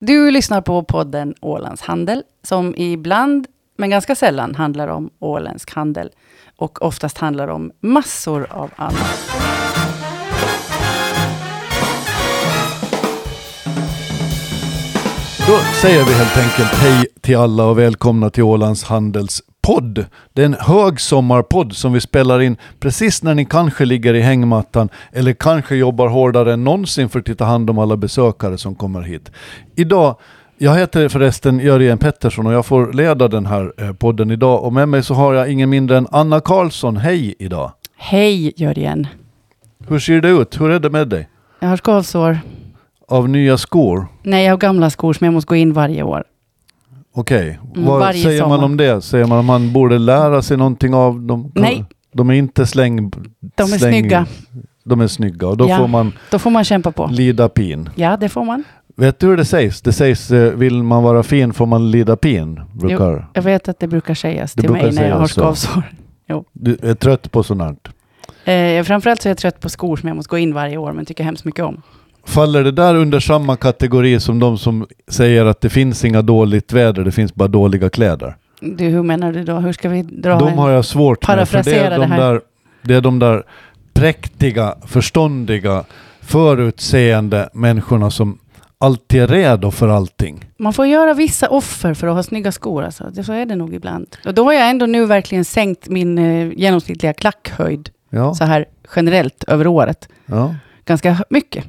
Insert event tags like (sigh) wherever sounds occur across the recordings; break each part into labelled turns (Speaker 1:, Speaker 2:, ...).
Speaker 1: Du lyssnar på podden Ålands Handel, som ibland, men ganska sällan, handlar om åländsk handel. Och oftast handlar om massor av annat.
Speaker 2: Då säger vi helt enkelt hej till alla och välkomna till Ålands Handels podd. Det är en högsommarpodd som vi spelar in precis när ni kanske ligger i hängmattan eller kanske jobbar hårdare än någonsin för att ta hand om alla besökare som kommer hit. Idag, jag heter förresten Jörgen Pettersson och jag får leda den här eh, podden idag och med mig så har jag ingen mindre än Anna Karlsson. Hej idag!
Speaker 1: Hej Jörgen!
Speaker 2: Hur ser det ut? Hur är det med dig?
Speaker 1: Jag har skavsår.
Speaker 2: Av nya skor?
Speaker 1: Nej, jag har gamla skor som jag måste gå in varje år.
Speaker 2: Okej,
Speaker 1: Mm,
Speaker 2: vad
Speaker 1: varje
Speaker 2: säger man
Speaker 1: sommar.
Speaker 2: om det? Säger man att man borde lära sig någonting av dem?
Speaker 1: Nej.
Speaker 2: De är inte släng...
Speaker 1: De är
Speaker 2: släng-
Speaker 1: snygga.
Speaker 2: De är snygga och då
Speaker 1: Ja.
Speaker 2: får man
Speaker 1: Då får man kämpa på.
Speaker 2: lida pin.
Speaker 1: Ja, det får man.
Speaker 2: Vet du hur det sägs? Det sägs eh, vill man vara fin får man lida pin. Brukar.
Speaker 1: Jag vet att det brukar sägas
Speaker 2: Det
Speaker 1: till
Speaker 2: brukar
Speaker 1: mig när jag
Speaker 2: sägas
Speaker 1: har
Speaker 2: så.
Speaker 1: skavsår.
Speaker 2: Du är trött på sånt här.
Speaker 1: Eh, framförallt så är jag trött på skor som jag måste gå in varje år, men tycker hemskt mycket om.
Speaker 2: Faller det där under samma kategori som de som säger att det finns inga dåligt väder, det finns bara dåliga kläder?
Speaker 1: Du, hur menar du då? Hur ska vi dra
Speaker 2: De
Speaker 1: en-
Speaker 2: har jag svårt med. För det, är
Speaker 1: Parafrasera
Speaker 2: de
Speaker 1: det här.
Speaker 2: Där, det är de där präktiga, förståndiga, förutseende människorna som alltid är redo för allting.
Speaker 1: Man får göra vissa offer för att ha snygga skor. Alltså. Det, så är det nog ibland. Och då har jag ändå nu verkligen sänkt min eh, genomsnittliga klackhöjd
Speaker 2: Ja,
Speaker 1: så här generellt över året.
Speaker 2: ja
Speaker 1: Ganska hö- mycket.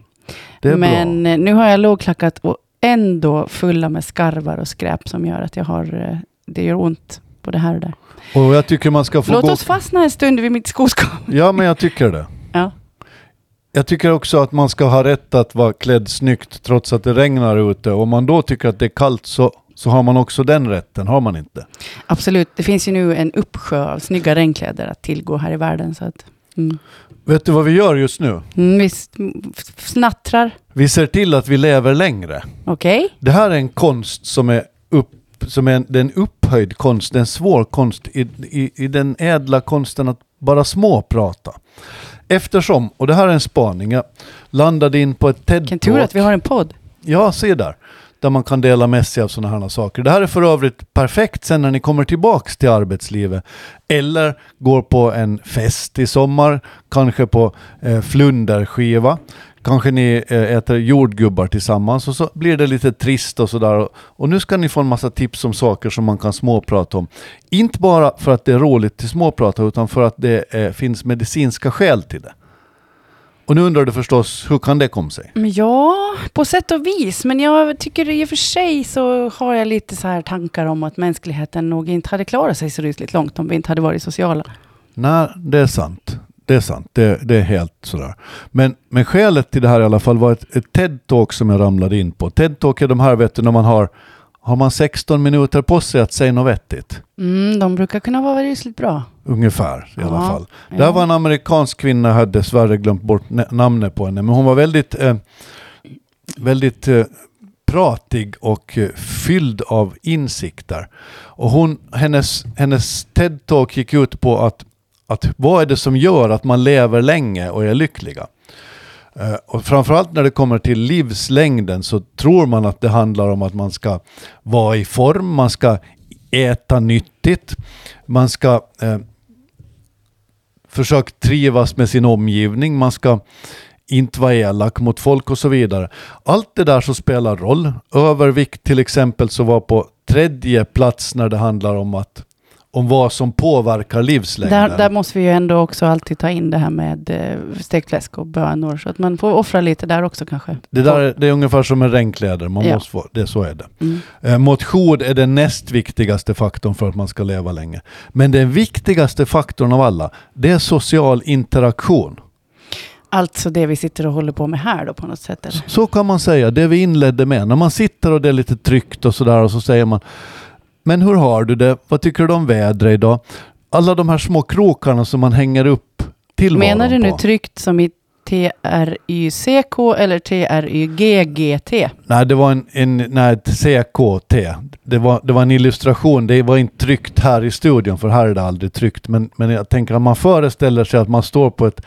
Speaker 2: det är bra.
Speaker 1: Men eh, nu har jag lågklackat och ändå fulla med skarvar och skräp som gör att jag har, eh, det gör ont både här och där.
Speaker 2: Och jag tycker man ska få
Speaker 1: Låt
Speaker 2: gå...
Speaker 1: oss fastna en stund vid mitt skoskav.
Speaker 2: Ja, men jag tycker det.
Speaker 1: (laughs) Ja.
Speaker 2: Jag tycker också att man ska ha rätt att vara klädd snyggt trots att det regnar ute. Om man då tycker att det är kallt så, så har man också den rätten, har man inte?
Speaker 1: Absolut, det finns ju nu en uppsjö av snygga regnkläder att tillgå här i världen. Så att, mm.
Speaker 2: Vet du vad vi gör just nu?
Speaker 1: Mm, vi s- f- snattrar,
Speaker 2: Vi ser till att vi lever längre.
Speaker 1: okej?
Speaker 2: Det här är en konst som är, upp, som är en, det är en upphöjd konst, det är en svår konst i, i, i den ädla konsten att bara småprata. Eftersom, och det här är en spaning, jag landade in på ett
Speaker 1: Vilken tur att vi
Speaker 2: TED-talk.
Speaker 1: har en podd.
Speaker 2: Ja, se där. Där man kan dela med sig av sådana här saker. Det här är för övrigt perfekt sen när ni kommer tillbaks till arbetslivet. Eller går på en fest i sommar, kanske på eh, flunderskiva. Kanske ni eh, äter jordgubbar tillsammans och så blir det lite trist och sådär. Och, och nu ska ni få en massa tips om saker som man kan småprata om. Inte bara för att det är roligt till småprata utan för att det eh, finns medicinska skäl till det. Och nu undrar du förstås, hur kan det komma sig?
Speaker 1: Men Ja, på sätt och vis. Men jag tycker i och för sig så har jag lite så här tankar om att mänskligheten nog inte hade klarat sig så rysligt långt om vi inte hade varit sociala.
Speaker 2: Nej, det är sant. Det är sant. Det, det är helt sådär. Men, men skälet till det här i alla fall var ett, ett TED-talk som jag ramlade in på. TED-talk är de här, vet du, när man har, har man 16 minuter på sig att säga något vettigt.
Speaker 1: Mm, de brukar kunna vara rysligt bra.
Speaker 2: Ungefär i alla
Speaker 1: Ja,
Speaker 2: fall. Det här var en amerikansk kvinna, jag hade dessvärre glömt bort na- namnet på henne, men hon var väldigt, eh, väldigt eh, pratig och eh, fylld av insikter. Och hon, hennes, hennes TED-talk gick ut på att, att vad är det som gör att man lever länge och är lyckliga? Eh, Och framförallt när det kommer till livslängden så tror man att det handlar om att man ska vara i form, man ska äta nyttigt, man ska eh, försöka trivas med sin omgivning, man ska inte vara elak mot folk och så vidare. Allt det där som spelar roll. Övervikt till exempel så var på tredje plats när det handlar om att om vad som påverkar livslängden.
Speaker 1: Där, där måste vi ju ändå också alltid ta in det här med eh, stekt fläsk och bönor. Så att man får offra lite där också kanske.
Speaker 2: Det, där, är- det är ungefär som med regnkläder, man
Speaker 1: Ja.
Speaker 2: måste få, det, så är det.
Speaker 1: Mm.
Speaker 2: Eh, Motion är den näst viktigaste faktorn för att man ska leva länge. Men den viktigaste faktorn av alla, det är social interaktion.
Speaker 1: Alltså det vi sitter och håller på med här då på något sätt. Eller?
Speaker 2: Så kan man säga, det vi inledde med. När man sitter och det är lite tryggt och sådär och så säger man Men hur har du det? Vad tycker du om vädret idag? Alla de här små krokarna som man hänger upp tillvaron
Speaker 1: Menar du nu
Speaker 2: på.
Speaker 1: tryckt som i TRYCK eller TRYGGT?
Speaker 2: Nej, det var en, en nej, ett CKT. Det var, det var en illustration. Det var inte tryckt här i studion, för här är det aldrig tryckt. Men, men jag tänker att man föreställer sig att man står på ett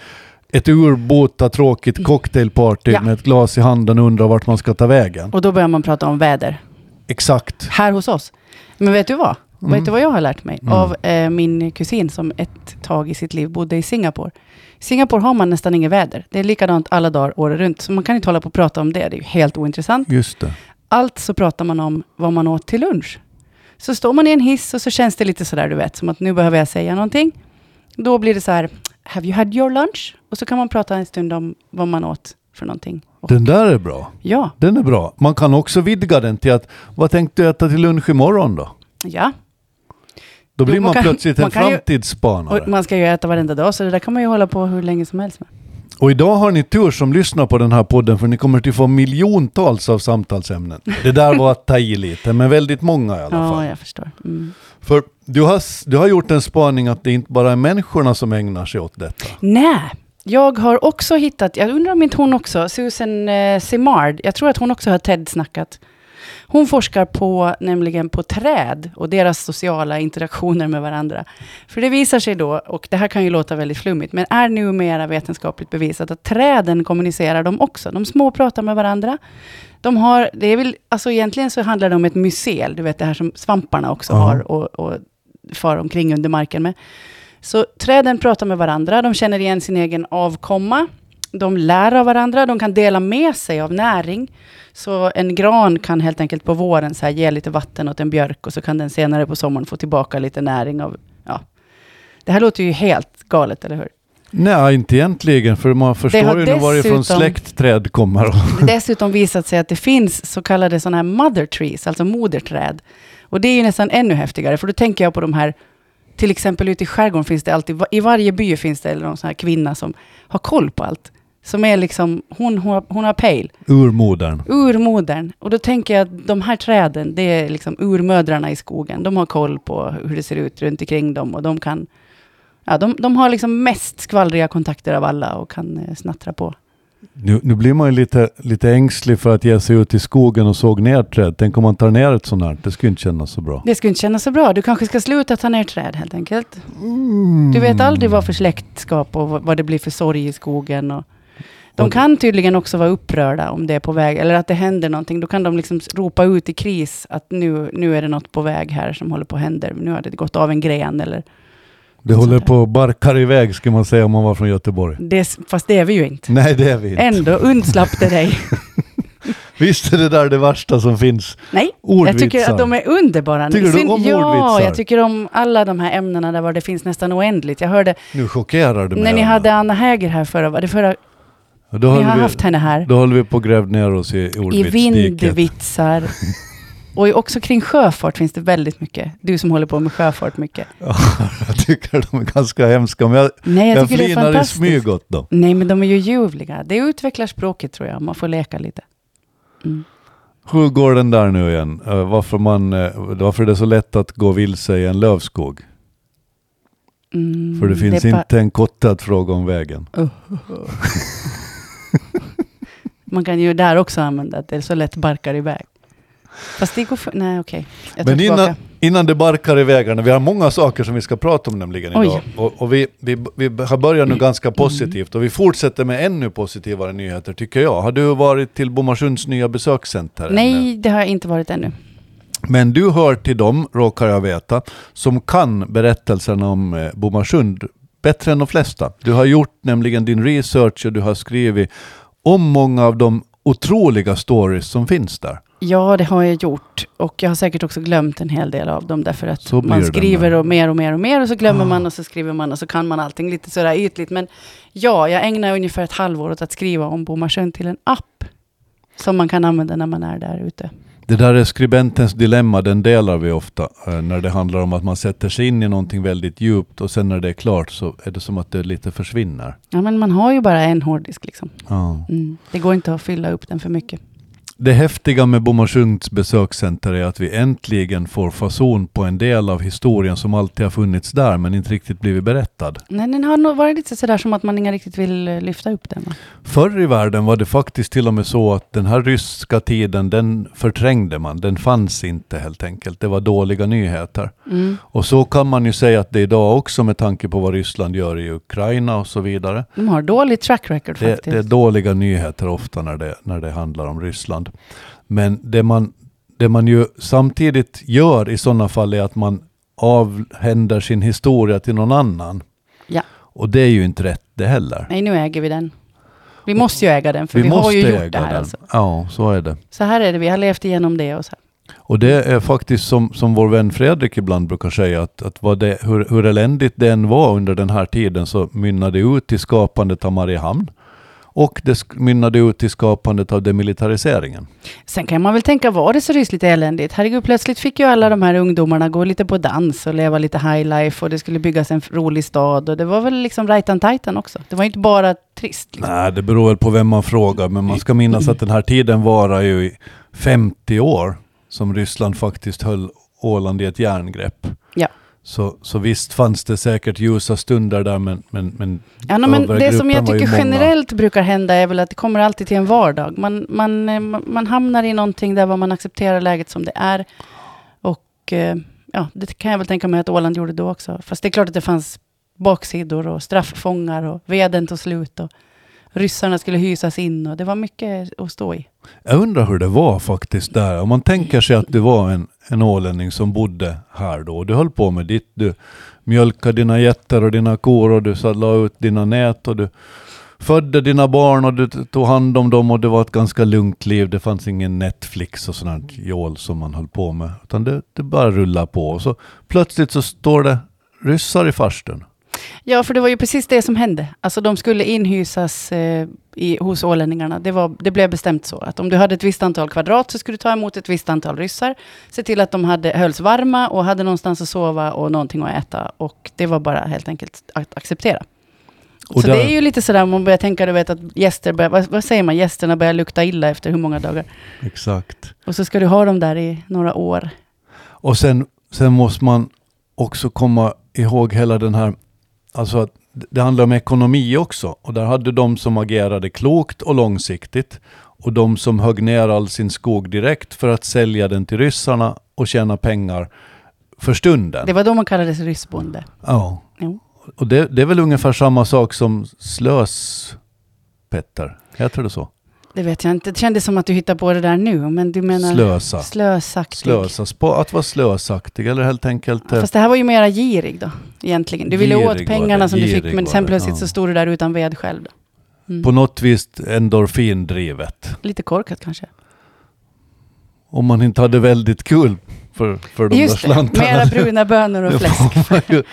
Speaker 2: ett urbota tråkigt cocktailparty
Speaker 1: Ja.
Speaker 2: med ett glas i handen och undrar vart man ska ta vägen.
Speaker 1: Och då börjar man prata om väder.
Speaker 2: Exakt.
Speaker 1: Här hos oss. Men vet du vad?
Speaker 2: Mm.
Speaker 1: Vet du vad jag har lärt mig?
Speaker 2: Mm.
Speaker 1: Av eh, min kusin som ett tag i sitt liv bodde i Singapore. I Singapore har man nästan inget väder. Det är likadant alla dagar året runt. Så man kan inte hålla på och prata om det. Det är ju helt ointressant.
Speaker 2: Just det.
Speaker 1: Allt så pratar man om vad man åt till lunch. Så står man i en hiss och så känns det lite sådär, du vet, som att nu behöver jag säga någonting. Då blir det så här, have you had your lunch? Och så kan man prata en stund om vad man åt för någonting. Och,
Speaker 2: Den där är bra.
Speaker 1: ja,
Speaker 2: Den är bra. Man kan också vidga den till att, vad tänkte du äta till lunch imorgon då?
Speaker 1: ja.
Speaker 2: Då blir
Speaker 1: Man
Speaker 2: man,
Speaker 1: kan-
Speaker 2: plötsligt
Speaker 1: man
Speaker 2: en
Speaker 1: kan ju-
Speaker 2: framtidsspanare.
Speaker 1: Och man ska ju äta varenda dag, så det där kan man ju hålla på hur länge som helst med.
Speaker 2: Och idag har ni tur som lyssnar på den här podden för ni kommer att få miljontals av samtalsämnen. Det där var att ta i lite, men väldigt många i alla fall.
Speaker 1: Ja, jag förstår. Mm.
Speaker 2: För du har, s- du har gjort en spaning att det inte bara är människorna som ägnar sig åt detta.
Speaker 1: Nej, jag har också hittat, jag undrar om inte hon också, Susan eh, Simard, jag tror att hon också har TED-snackat. Hon forskar på, nämligen på träd och deras sociala interaktioner med varandra. För det visar sig då, och det här kan ju låta väldigt flummigt, men är numera vetenskapligt bevisat att träden kommunicerar de också. De små pratar med varandra. De har, det är väl, alltså egentligen så handlar det om ett mycel, du vet det här som svamparna också
Speaker 2: Ja.
Speaker 1: har och, och far omkring under marken med. Så träden pratar med varandra, de känner igen sin egen avkomma, de lär av varandra, de kan dela med sig av näring. Så en gran kan helt enkelt på våren så här ge lite vatten åt en björk och så kan den senare på sommaren få tillbaka lite näring av... Ja. Det här låter ju helt galet, eller hur?
Speaker 2: Nej, inte egentligen, för man förstår ju nu varifrån
Speaker 1: dessutom-
Speaker 2: släktträd (laughs) kommer.
Speaker 1: Det har dessutom visat sig att det finns så kallade sådana här mother trees, alltså moderträd. Och det är ju nästan ännu häftigare, för då tänker jag på de här, till exempel ute i skärgården finns det alltid, i varje by finns det någon sån här kvinna som har koll på allt. Som är liksom, hon, hon, har, hon har pejl,
Speaker 2: Urmodern.
Speaker 1: urmodern. Och då tänker jag att de här träden, det är liksom urmödrarna i skogen. De har koll på hur det ser ut runt omkring dem och de kan, ja de, de har liksom mest skvallriga kontakter av alla och kan eh, snattra på.
Speaker 2: Nu, nu blir man ju lite, lite ängslig för att ge sig ut i skogen och såg ner träd. Tänk om man tar ner ett sånt här, det skulle inte kännas så bra.
Speaker 1: Det skulle inte kännas så bra. Du kanske ska sluta ta ner träd helt enkelt.
Speaker 2: Mm.
Speaker 1: Du vet aldrig vad för släktskap och vad vad det blir för sorg i skogen. Och de
Speaker 2: Och-
Speaker 1: kan tydligen också vara upprörda om det är på väg, eller att det händer någonting. Då kan de liksom ropa ut i kris att nu, nu är det något på väg här som håller på att hända. Nu har det gått av en gren eller...
Speaker 2: Det håller på och barkar iväg, skulle man säga om man var från Göteborg.
Speaker 1: Det, fast det är vi ju inte.
Speaker 2: Nej, det är vi inte.
Speaker 1: Ändå undslapp det
Speaker 2: (laughs)
Speaker 1: dig.
Speaker 2: Visst är det där det värsta som finns?
Speaker 1: Nej,
Speaker 2: Ordvitsar.
Speaker 1: jag tycker att de är underbara.
Speaker 2: Tycker du
Speaker 1: Synd-
Speaker 2: om
Speaker 1: Ja,
Speaker 2: ordvitsar?
Speaker 1: jag tycker om alla de här ämnena där var det finns nästan oändligt. Jag hörde
Speaker 2: Nu chockerar du mig.
Speaker 1: när ni
Speaker 2: Anna.
Speaker 1: hade Anna Häger här förra, var det förra
Speaker 2: då
Speaker 1: Ni
Speaker 2: höll
Speaker 1: har
Speaker 2: vi,
Speaker 1: haft henne här.
Speaker 2: Då höll vi på att gräva ner oss i
Speaker 1: I
Speaker 2: ordvitsdiket.
Speaker 1: vindvitsar. (laughs) Och också kring sjöfart finns det väldigt mycket. Du som håller på med sjöfart mycket.
Speaker 2: Ja, (laughs) jag tycker de är ganska hemska, men jag,
Speaker 1: Nej, jag,
Speaker 2: jag,
Speaker 1: tycker det är
Speaker 2: flinar i
Speaker 1: fantastiskt.
Speaker 2: smyg åt dem.
Speaker 1: Nej, men de är ju ljuvliga. Det utvecklar språket tror jag, om man får leka lite. Mm.
Speaker 2: Hur går den där nu igen? Eh, varför, man, eh, varför är det så lätt att gå vilse i en lövskog?
Speaker 1: Mm,
Speaker 2: För det finns
Speaker 1: är ba-
Speaker 2: inte en kotte att fråga om vägen.
Speaker 1: (laughs) Man kan ju där också använda att det är så lätt barkar iväg. Fast det går för... Nej, okej. Jag tar
Speaker 2: Men innan,
Speaker 1: tillbaka.
Speaker 2: innan det barkar i vägarna, vi har många saker som vi ska prata om nämligen
Speaker 1: Oj.
Speaker 2: idag. Och, och vi, vi, vi har börjat nu ganska positivt och vi fortsätter med ännu positivare nyheter tycker jag. Har du varit till Bomarsunds nya besökscenter? ännu?
Speaker 1: Nej, det har jag inte varit ännu.
Speaker 2: Men du hör till dem, råkar jag veta, som kan berättelserna om eh, Bomarsund bättre än de flesta. Du har gjort nämligen din research och du har skrivit om många av de otroliga stories som finns där.
Speaker 1: Ja, det har jag gjort. Och jag har säkert också glömt en hel del av dem. Därför att
Speaker 2: Så blir
Speaker 1: man
Speaker 2: det den
Speaker 1: skriver
Speaker 2: där.
Speaker 1: och mer och mer och mer. Och så glömmer
Speaker 2: Ah.
Speaker 1: man och så skriver man och så kan man allting lite sådär ytligt. Men ja, jag ägnar ungefär ett halvår åt att skriva om Bomarsund till en app. Som man kan använda när man är där ute.
Speaker 2: Det där är skribentens dilemma, den delar vi ofta eh, när det handlar om att man sätter sig in i någonting väldigt djupt och sen när det är klart så är det som att det lite försvinner.
Speaker 1: Ja, men man har ju bara en hårddisk liksom.
Speaker 2: Ja.
Speaker 1: Mm. Det går inte att fylla upp den för mycket.
Speaker 2: Det häftiga med Bomarsunds besökscenter är att vi äntligen får fason på en del av historien som alltid har funnits där men inte riktigt blivit berättad.
Speaker 1: Nej, den har nog varit lite sådär som att man inte riktigt vill eh, lyfta upp den. Va?
Speaker 2: Förr i världen var det faktiskt till och med så att den här ryska tiden, den förträngde man. Den fanns inte helt enkelt. Det var dåliga nyheter.
Speaker 1: Mm.
Speaker 2: Och så kan man ju säga att det är idag också med tanke på vad Ryssland gör i Ukraina och så vidare.
Speaker 1: De har dålig track record
Speaker 2: Det,
Speaker 1: faktiskt.
Speaker 2: det är dåliga nyheter ofta när det, när det handlar om Ryssland. Men det man, det man ju samtidigt gör i sådana fall är att man avhänder sin historia till någon annan.
Speaker 1: Ja.
Speaker 2: Och det är ju inte rätt det heller.
Speaker 1: Nej, nu äger vi den. Vi måste ju äga den, för vi, har ju gjort det här. Alltså.
Speaker 2: Ja, så är det.
Speaker 1: Så här är det, vi har levt igenom det. Och så här.
Speaker 2: Och det är faktiskt som, som vår vän Fredrik ibland brukar säga, att, att vad det, hur, hur eländigt det än var under den här tiden så mynnade det ut i skapandet av Mariehamn. Och det sk- mynnade ut i skapandet av demilitariseringen.
Speaker 1: Sen kan man väl tänka, var det så rysligt eländigt? Herregud, plötsligt fick ju alla de här ungdomarna gå lite på dans och leva lite high life och det skulle byggas en rolig stad och det var väl liksom rajtan tajtan också. Det var ju inte bara trist. Liksom.
Speaker 2: Nej, det beror väl på vem man frågar, men man ska minnas att den här tiden varar ju i 50 år som Ryssland faktiskt höll Åland i ett järngrepp.
Speaker 1: Ja.
Speaker 2: Så, så visst fanns det säkert ljusa stunder där, men, men, men
Speaker 1: Ja, no, men det som
Speaker 2: övergruppen
Speaker 1: jag
Speaker 2: var ju
Speaker 1: tycker
Speaker 2: många.
Speaker 1: generellt brukar hända är väl att det kommer alltid till en vardag. Man, man, eh, man- man hamnar i någonting där vad man accepterar läget som det är. Och eh, ja, det kan jag väl tänka mig att Åland gjorde då också. Fast det är klart att det fanns baksidor och strafffångar och veden tog slut och ryssarna skulle hysas in och det var mycket att stå i.
Speaker 2: Jag undrar hur det var faktiskt där. Om man tänker sig att du var en, en ålänning som bodde här då. Du höll på med ditt. Du mjölkade dina getter och dina kor och du så- la ut dina nät och du födde dina barn och du t- tog hand om dem och det var ett ganska lugnt liv. Det fanns ingen Netflix och sånt här jål som man höll på med. Utan det, det bara rullade på. Och så plötsligt så står det ryssar i farstun.
Speaker 1: Ja, för det var ju precis det som hände. Alltså de skulle inhysas eh, i, hos ålänningarna. Det, var, det blev bestämt så att om du hade ett visst antal kvadrat så skulle du ta emot ett visst antal ryssar. Se till att de hade, hölls varma och hade någonstans att sova och någonting att äta. Och det var bara helt enkelt att acceptera.
Speaker 2: Och
Speaker 1: så
Speaker 2: där-
Speaker 1: det är ju lite sådär, man börjar tänka du vet, att gäster börjar, vad, vad säger man, gästerna börjar lukta illa efter hur många dagar.
Speaker 2: Exakt.
Speaker 1: Och så ska du ha dem där i några år.
Speaker 2: Och sen, sen måste man också komma ihåg hela den här, alltså att det handlar om ekonomi också. Och där hade de som agerade klokt och långsiktigt och de som högg ner all sin skog direkt för att sälja den till ryssarna och tjäna pengar för stunden.
Speaker 1: Det var då man kallades ryssbonde.
Speaker 2: Ja.
Speaker 1: Jo.
Speaker 2: Och det, det är väl ungefär samma sak som slös-Petter? Heter det så?
Speaker 1: Det vet jag inte, det kändes som att du hittar på det där nu, men eh, du menar...
Speaker 2: Slösa.
Speaker 1: Slösaktig.
Speaker 2: Slösas på att vara slösaktig eller helt enkelt... eh,
Speaker 1: Fast det här var ju mera girig då, egentligen. Du ville
Speaker 2: Girig
Speaker 1: åt
Speaker 2: var
Speaker 1: pengarna
Speaker 2: det,
Speaker 1: som du
Speaker 2: girig
Speaker 1: fick, men
Speaker 2: var
Speaker 1: sen
Speaker 2: det,
Speaker 1: plötsligt
Speaker 2: ja.
Speaker 1: så stod du där utan ved själv. Då. Mm.
Speaker 2: eh, På något vis endorfindrivet.
Speaker 1: Lite korkat kanske.
Speaker 2: Om man inte hade väldigt kul för, för de
Speaker 1: Just
Speaker 2: där
Speaker 1: det,
Speaker 2: slantarna.
Speaker 1: mera bruna bönor
Speaker 2: (laughs)
Speaker 1: och fläsk.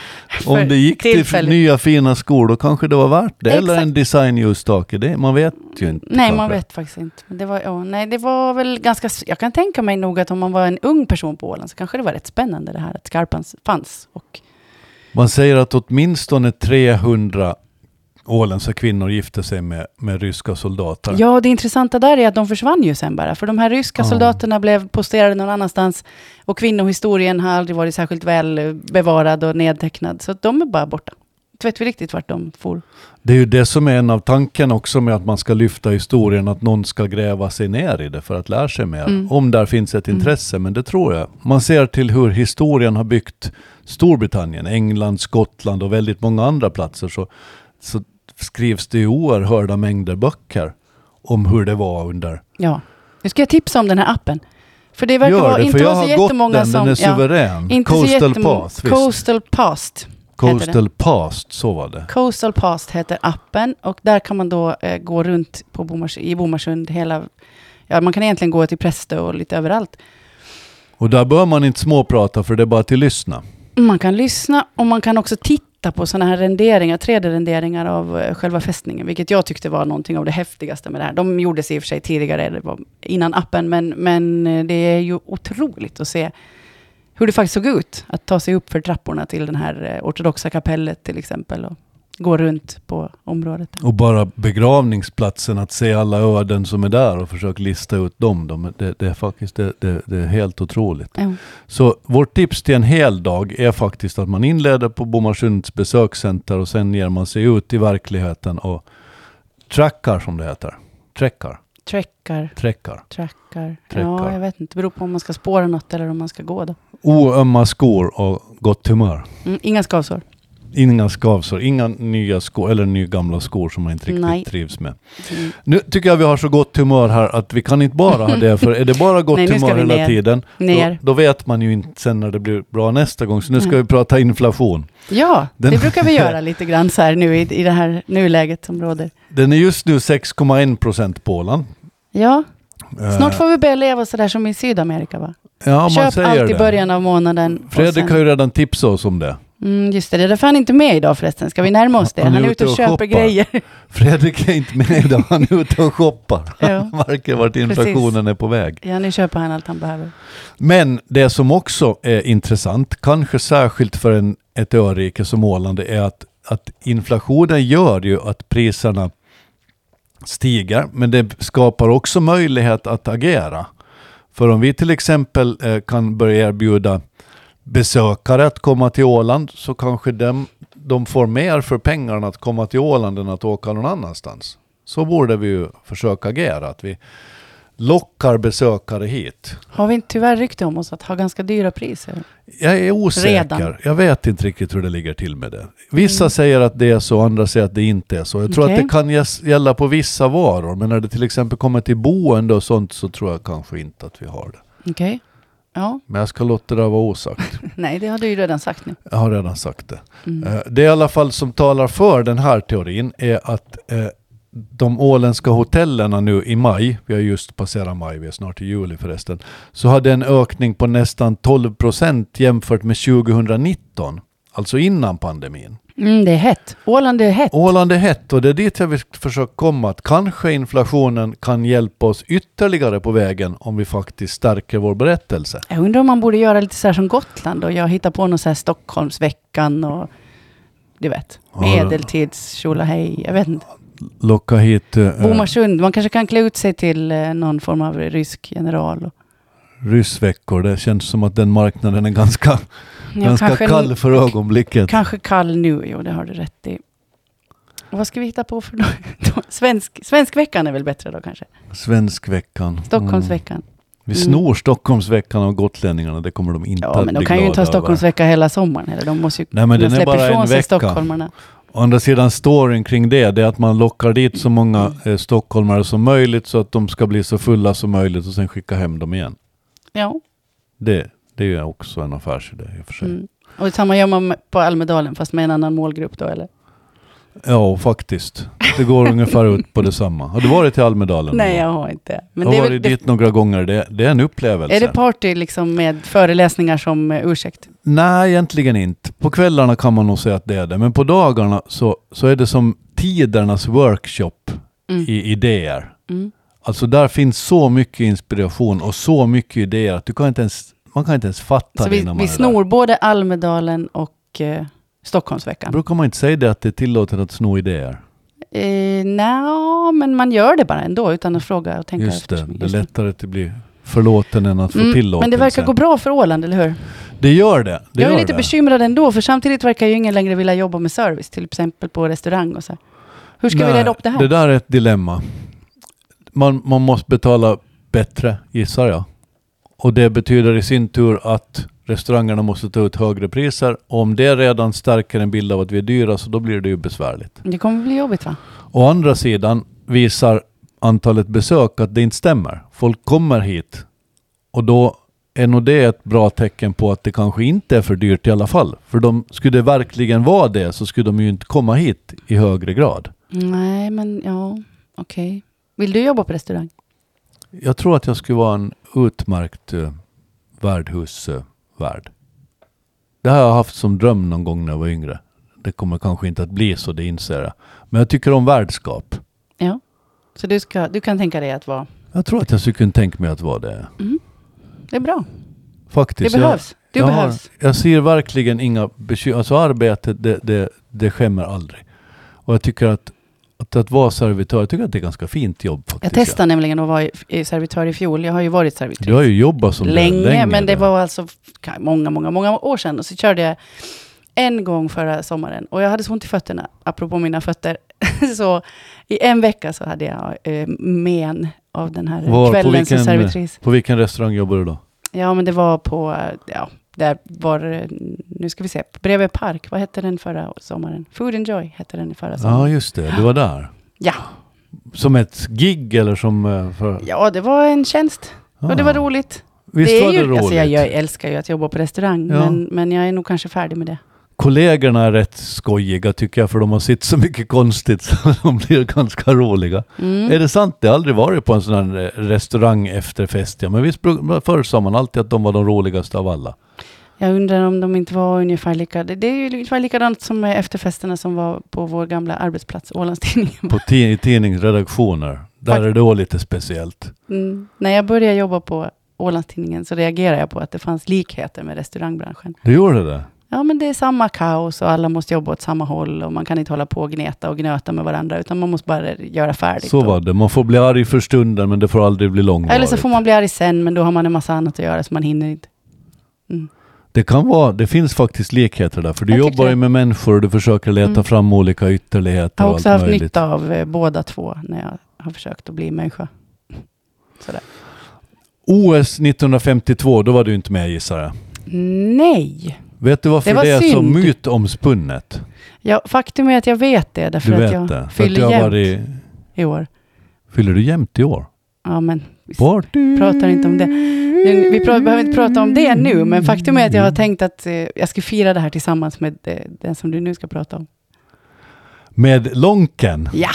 Speaker 2: Om det gick till
Speaker 1: tillfället.
Speaker 2: nya fina skor då kanske det var värt det. Eller
Speaker 1: Exakt.
Speaker 2: en designljusstake. Det- Man vet ju inte.
Speaker 1: Nej, man
Speaker 2: kanske.
Speaker 1: vet faktiskt inte. Men det var, ja, nej, det var väl ganska... s- Jag kan tänka mig nog att om man var en ung person på Åland så kanske det var rätt spännande det här att skarpan s- fanns. Och,
Speaker 2: Man säger att åtminstone 300 åländska kvinnor gifte sig med, med ryska soldater.
Speaker 1: ja, det intressanta där är att de försvann ju sen bara. För de här ryska
Speaker 2: Ja.
Speaker 1: soldaterna blev posterade någon annanstans. Och kvinnohistorien har aldrig varit särskilt väl eh, bevarad och nedtecknad. Så att de är bara borta. Inte vet vi riktigt vart de for.
Speaker 2: Det är ju det som är en av tanken också med att man ska lyfta historien, att någon ska gräva sig ner i det för att lära sig mer.
Speaker 1: Mm.
Speaker 2: Om där finns ett
Speaker 1: Mm.
Speaker 2: intresse, men det tror jag. Man ser till hur historien har byggt Storbritannien, England, Skottland och väldigt många andra platser så, så skrivs det ju oerhörda mängder böcker om hur det var under...
Speaker 1: Ja. Nu ska jag tipsa om den här appen. För det verkar
Speaker 2: Gör
Speaker 1: vara,
Speaker 2: det,
Speaker 1: inte
Speaker 2: för
Speaker 1: vara
Speaker 2: jag
Speaker 1: så
Speaker 2: har gått
Speaker 1: jättemånga
Speaker 2: den,
Speaker 1: som...
Speaker 2: den är
Speaker 1: ja,
Speaker 2: suverän.
Speaker 1: inte så
Speaker 2: Coastal
Speaker 1: jättemånga-
Speaker 2: Path, visst.
Speaker 1: Coastal Past.
Speaker 2: Coastal Past, så var det.
Speaker 1: Coastal Past heter appen och där kan man då eh, gå runt på Bomars, i Bomarsund hela... Ja, man kan egentligen gå till Prästö och lite överallt.
Speaker 2: Och där bör man inte småprata för det är bara till lyssna.
Speaker 1: Man kan lyssna och man kan också titta på sådana här renderingar, 3D-renderingar av eh, själva fästningen, vilket jag tyckte var någonting av det häftigaste med det här. De gjordes i och för sig tidigare, det var innan appen, men, men eh, det är ju otroligt att se hur det faktiskt såg ut att ta sig upp för trapporna till det här eh, ortodoxa kapellet till exempel. Och går runt på området. där.
Speaker 2: Och bara begravningsplatsen, att se alla öden som är där och försöka lista ut dem. De, det, det är faktiskt det, det, det är helt otroligt.
Speaker 1: Ja.
Speaker 2: Så vårt tips till en hel dag är faktiskt att man inleder på Bomarsunds besökscenter och sen ger man sig ut i verkligheten och trackar som det heter. Träckar,
Speaker 1: Trackar,
Speaker 2: träckar.
Speaker 1: trackar.
Speaker 2: Trackar.
Speaker 1: Ja, jag vet inte. Det beror på om man ska spåra något eller om man ska gå då.
Speaker 2: Oömma skor och gott humör.
Speaker 1: Mm, inga skavsår.
Speaker 2: Inga skavsår, inga nya skor eller nygamla skor som man inte riktigt
Speaker 1: Nej.
Speaker 2: trivs med.
Speaker 1: Mm.
Speaker 2: Nu tycker jag vi har så gott humör här att vi kan inte bara ha det, för är
Speaker 1: (laughs)
Speaker 2: det bara gott
Speaker 1: Nej, nu ska
Speaker 2: humör
Speaker 1: vi
Speaker 2: hela
Speaker 1: ner.
Speaker 2: tiden, då,
Speaker 1: Ner.
Speaker 2: då vet man ju inte sen när det blir bra nästa gång. Så nu ska
Speaker 1: Nej.
Speaker 2: vi prata inflation.
Speaker 1: Ja,
Speaker 2: Den-
Speaker 1: det brukar vi
Speaker 2: (laughs)
Speaker 1: göra lite grann så här nu i, i det här nuläget som råder.
Speaker 2: Den är just nu 6,1 procent på Åland.
Speaker 1: Ja, snart
Speaker 2: Eh,
Speaker 1: får vi börja leva så där som i Sydamerika va?
Speaker 2: ja, man
Speaker 1: Köp
Speaker 2: säger
Speaker 1: allt i
Speaker 2: det.
Speaker 1: början av månaden. och
Speaker 2: Fredrik
Speaker 1: sen-
Speaker 2: har ju redan tipsat oss om det.
Speaker 1: Mm, just det, det är därför han inte är med idag förresten. Ska vi närma oss det? Han är, ute och, köper
Speaker 2: shoppar.
Speaker 1: grejer. (laughs)
Speaker 2: Fredrik är inte med idag, han är ute och shoppar.
Speaker 1: ja.
Speaker 2: Han (laughs) märker vart inflationen är på väg.
Speaker 1: ja, nu köper han allt han behöver.
Speaker 2: Men det som också är intressant, kanske särskilt för en, ett örike som Åland, är att, att inflationen gör ju att priserna stiger, men det skapar också möjlighet att agera. För om vi till exempel eh, kan börja erbjuda besökare att komma till Åland så kanske dem, de får mer för pengarna att komma till Åland än att åka någon annanstans. Så borde vi ju försöka agera, att vi lockar besökare hit.
Speaker 1: Har vi inte tyvärr rykte om oss att ha ganska dyra priser?
Speaker 2: Jag är osäker.
Speaker 1: Redan. Mm.
Speaker 2: Jag vet inte riktigt hur det ligger till med det. Vissa säger att det är så, andra säger att det inte är så. Jag tror att
Speaker 1: Okej.
Speaker 2: det kan gäs- gälla på vissa varor, men när det till exempel kommer till boende och sånt så tror jag kanske inte att vi har det.
Speaker 1: Okej. Ja,
Speaker 2: Men jag ska låta det där vara osagt.
Speaker 1: nej, det har du ju redan sagt nu.
Speaker 2: Jag har redan sagt det.
Speaker 1: Mm.
Speaker 2: Eh, Det i alla fall som talar för den här teorin är att eh, de åländska hotellerna nu i maj, vi har just passerat maj, vi är snart i juli förresten, så hade en ökning på nästan 12 procent jämfört med 2019, alltså innan pandemin.
Speaker 1: Mm, det är hett. Åland är hett.
Speaker 2: Åland är hett och det är dit jag vill försöka komma, att kanske inflationen kan hjälpa oss ytterligare på vägen om vi faktiskt stärker vår berättelse.
Speaker 1: Jag undrar om man borde göra lite så här som Gotland och jag hittar på någon så här Stockholmsveckan och du vet,
Speaker 2: Ja, det-
Speaker 1: medeltids hej, jag vet inte.
Speaker 2: Locka hit eh,
Speaker 1: Bomarsund, man kanske kan klä ut sig till eh, någon form av rysk general. Och,
Speaker 2: ryssveckor, det känns som att den marknaden är ganska
Speaker 1: Ja,
Speaker 2: Ganska kall för ögonblicket.
Speaker 1: Kanske kall nu, jo det har du rätt i. Och vad ska vi hitta på för (laughs) då? Svensk, svenskveckan är väl bättre då kanske?
Speaker 2: Svenskveckan. Mm.
Speaker 1: Stockholmsveckan.
Speaker 2: Vi
Speaker 1: Mm.
Speaker 2: snor Stockholmsveckan av gotlänningarna, det kommer de inte
Speaker 1: Ja, men
Speaker 2: att
Speaker 1: de
Speaker 2: bli
Speaker 1: kan ju
Speaker 2: glada
Speaker 1: inte ha
Speaker 2: över.
Speaker 1: Stockholmsvecka hela sommaren heller. De måste ju
Speaker 2: Nej, men
Speaker 1: kunna
Speaker 2: den är
Speaker 1: släppa
Speaker 2: bara en
Speaker 1: ifrån sig
Speaker 2: vecka.
Speaker 1: stockholmarna.
Speaker 2: Å andra sidan, storyn kring det, det är att man lockar dit så många eh, stockholmare som möjligt så att de ska bli så fulla som möjligt och sen skicka hem dem igen.
Speaker 1: Ja.
Speaker 2: Det, det är ju också en affärsidé i och för sig.
Speaker 1: Mm. Och samma gör man på Almedalen, fast med en annan målgrupp då eller?
Speaker 2: Ja, faktiskt.
Speaker 1: (laughs)
Speaker 2: Det går ungefär ut på detsamma. Har du varit i Almedalen?
Speaker 1: Nej,
Speaker 2: jag
Speaker 1: jag har inte. Men
Speaker 2: har
Speaker 1: det är, väl,
Speaker 2: varit dit några gånger. Det, det är en upplevelse.
Speaker 1: är det party liksom med föreläsningar som eh, ursäkt?
Speaker 2: Nej, egentligen inte. På kvällarna kan man nog säga att det är det, men på dagarna så, så är det som tidernas workshop
Speaker 1: Mm.
Speaker 2: i idéer.
Speaker 1: Mm.
Speaker 2: Alltså där finns så mycket inspiration och så mycket idéer att du kan inte ens, man kan inte ens
Speaker 1: Så
Speaker 2: fatta det
Speaker 1: vi,
Speaker 2: innan man
Speaker 1: vi
Speaker 2: är där.
Speaker 1: snor både Almedalen och eh, Stockholmsveckan.
Speaker 2: Brukar man inte säga det att det är tillåtet att sno idéer?
Speaker 1: Eh, Nja, men man gör det bara ändå utan att fråga och tänka
Speaker 2: Just det,
Speaker 1: efter.
Speaker 2: det är lättare att bli förlåten än att få
Speaker 1: Mm,
Speaker 2: tillåtelse.
Speaker 1: Men det verkar gå bra för Åland, eller hur?
Speaker 2: Det gör det. det
Speaker 1: jag är
Speaker 2: gör
Speaker 1: lite
Speaker 2: det.
Speaker 1: bekymrad ändå, för samtidigt verkar ju ingen längre vilja jobba med service, till exempel på restaurang och så. här. Hur ska vi
Speaker 2: Nej,
Speaker 1: reda upp det här?
Speaker 2: Det där är ett dilemma. Man, man måste betala bättre, gissar jag. Och det betyder i sin tur att restaurangerna måste ta ut högre priser. Och om det redan stärker en bild av att vi är dyra, så då blir det ju besvärligt.
Speaker 1: det kommer bli jobbigt va?
Speaker 2: Å andra sidan visar antalet besök att det inte stämmer. Folk kommer hit och då är nog det ett bra tecken på att det kanske inte är för dyrt i alla fall. För de, skulle det verkligen vara det så skulle de ju inte komma hit i högre grad.
Speaker 1: Nej, men ja, okej. Vill du jobba på restaurang?
Speaker 2: Jag tror att jag skulle vara en utmärkt uh, värdhusvärd. det har jag haft som dröm någon gång när jag var yngre. Det kommer kanske inte att bli så, det inser jag. Men jag tycker om värdskap.
Speaker 1: Ja. Så du, ska, du kan tänka dig att vara...
Speaker 2: Jag tror att jag skulle kunna tänka mig att vara det.
Speaker 1: Det är bra. Det
Speaker 2: Faktiskt.
Speaker 1: behövs. Du
Speaker 2: jag, jag
Speaker 1: behövs.
Speaker 2: Har, jag ser verkligen inga bekymmer. Alltså arbetet, det, det, det skämmer aldrig. Och jag tycker att, att, att vara servitör, jag tycker att det är ganska fint jobb
Speaker 1: Jag
Speaker 2: faktiskt.
Speaker 1: testade nämligen att vara i- i servitör i fjol. Jag har ju varit servitör
Speaker 2: Du har ju jobbat som
Speaker 1: länge,
Speaker 2: lärling,
Speaker 1: men det
Speaker 2: eller?
Speaker 1: var alltså ka- många, många, många år sedan. Och så körde jag en gång förra sommaren och jag hade så ont i fötterna, apropå mina fötter. (laughs) så i en vecka så hade jag eh, men av den här
Speaker 2: Var, på
Speaker 1: kvällen
Speaker 2: vilken-
Speaker 1: som servitris.
Speaker 2: På vilken restaurang jobbar du då?
Speaker 1: Ja, men det var på, eh, ja, där var, eh, nu ska vi se, bredvid Park, vad hette den förra sommaren? Food and Joy hette den förra
Speaker 2: Ja,
Speaker 1: sommaren.
Speaker 2: just det. Du var där.
Speaker 1: Ja.
Speaker 2: Som ett gig eller som... eh, För,
Speaker 1: Ja, det var en tjänst och det var
Speaker 2: Ah.
Speaker 1: roligt.
Speaker 2: Visst
Speaker 1: det är
Speaker 2: var
Speaker 1: ju,
Speaker 2: det roligt?
Speaker 1: Alltså jag, jag älskar ju att jobba på restaurang,
Speaker 2: Ja.
Speaker 1: men, men jag är nog kanske färdig med det.
Speaker 2: Kollegorna är rätt skojiga tycker jag, för de har sett så mycket konstigt så (laughs) de blir ganska roliga.
Speaker 1: Mm.
Speaker 2: Är det sant? Jag har aldrig varit på en sån här eh, restaurang efterfest. Ja. Men visst, bru- förr sa man alltid att de var de roligaste av alla.
Speaker 1: Jag undrar om de inte var ungefär lika. Det, det är ju ungefär likadant som med efterfesterna som var på vår gamla arbetsplats, Ålandstidningen. (laughs)
Speaker 2: På ti- i tidningsredaktioner. Där är det då lite speciellt.
Speaker 1: Mm. När jag började jobba på Ålandstidningen så reagerade jag på att det fanns likheter med restaurangbranschen.
Speaker 2: Du gjorde det?
Speaker 1: Ja, men det är samma kaos och alla måste jobba åt samma håll och man kan inte hålla på och gneta och gnöta med varandra, utan man måste bara göra färdigt.
Speaker 2: Så
Speaker 1: och-
Speaker 2: var det. Man får bli arg för stunden, men det får aldrig bli långvarigt.
Speaker 1: Eller så får man bli arg sen, men då har man en massa annat att göra, så man hinner inte. Mm.
Speaker 2: Det kan vara, det finns faktiskt likheter där, för du
Speaker 1: Jag tycker
Speaker 2: jobbar ju
Speaker 1: det.
Speaker 2: med människor och du försöker leta
Speaker 1: Mm.
Speaker 2: fram olika ytterligheter
Speaker 1: Jag har
Speaker 2: och
Speaker 1: också
Speaker 2: allt
Speaker 1: haft
Speaker 2: möjligt.
Speaker 1: nytta av eh, båda två när jag har försökt att bli människa. Sådär.
Speaker 2: OS 1952, då var du inte med gissar jag.
Speaker 1: Nej.
Speaker 2: Vet du varför det,
Speaker 1: Det var
Speaker 2: är så
Speaker 1: synd.
Speaker 2: mytomspunnet?
Speaker 1: Ja, faktum är att jag vet det, därför
Speaker 2: Du vet
Speaker 1: att jag
Speaker 2: det. För att
Speaker 1: fyller
Speaker 2: jag
Speaker 1: jämnt
Speaker 2: var i,
Speaker 1: i år.
Speaker 2: fyller du jämt i år?
Speaker 1: Ja, men visst.
Speaker 2: Party.
Speaker 1: pratar inte om det. Nu- vi pra- behöver inte prata om det nu, men faktum är att jag
Speaker 2: Mm.
Speaker 1: har tänkt att eh, jag ska fira det här tillsammans med eh, den som du nu ska prata om.
Speaker 2: Med Lonken.
Speaker 1: Ja,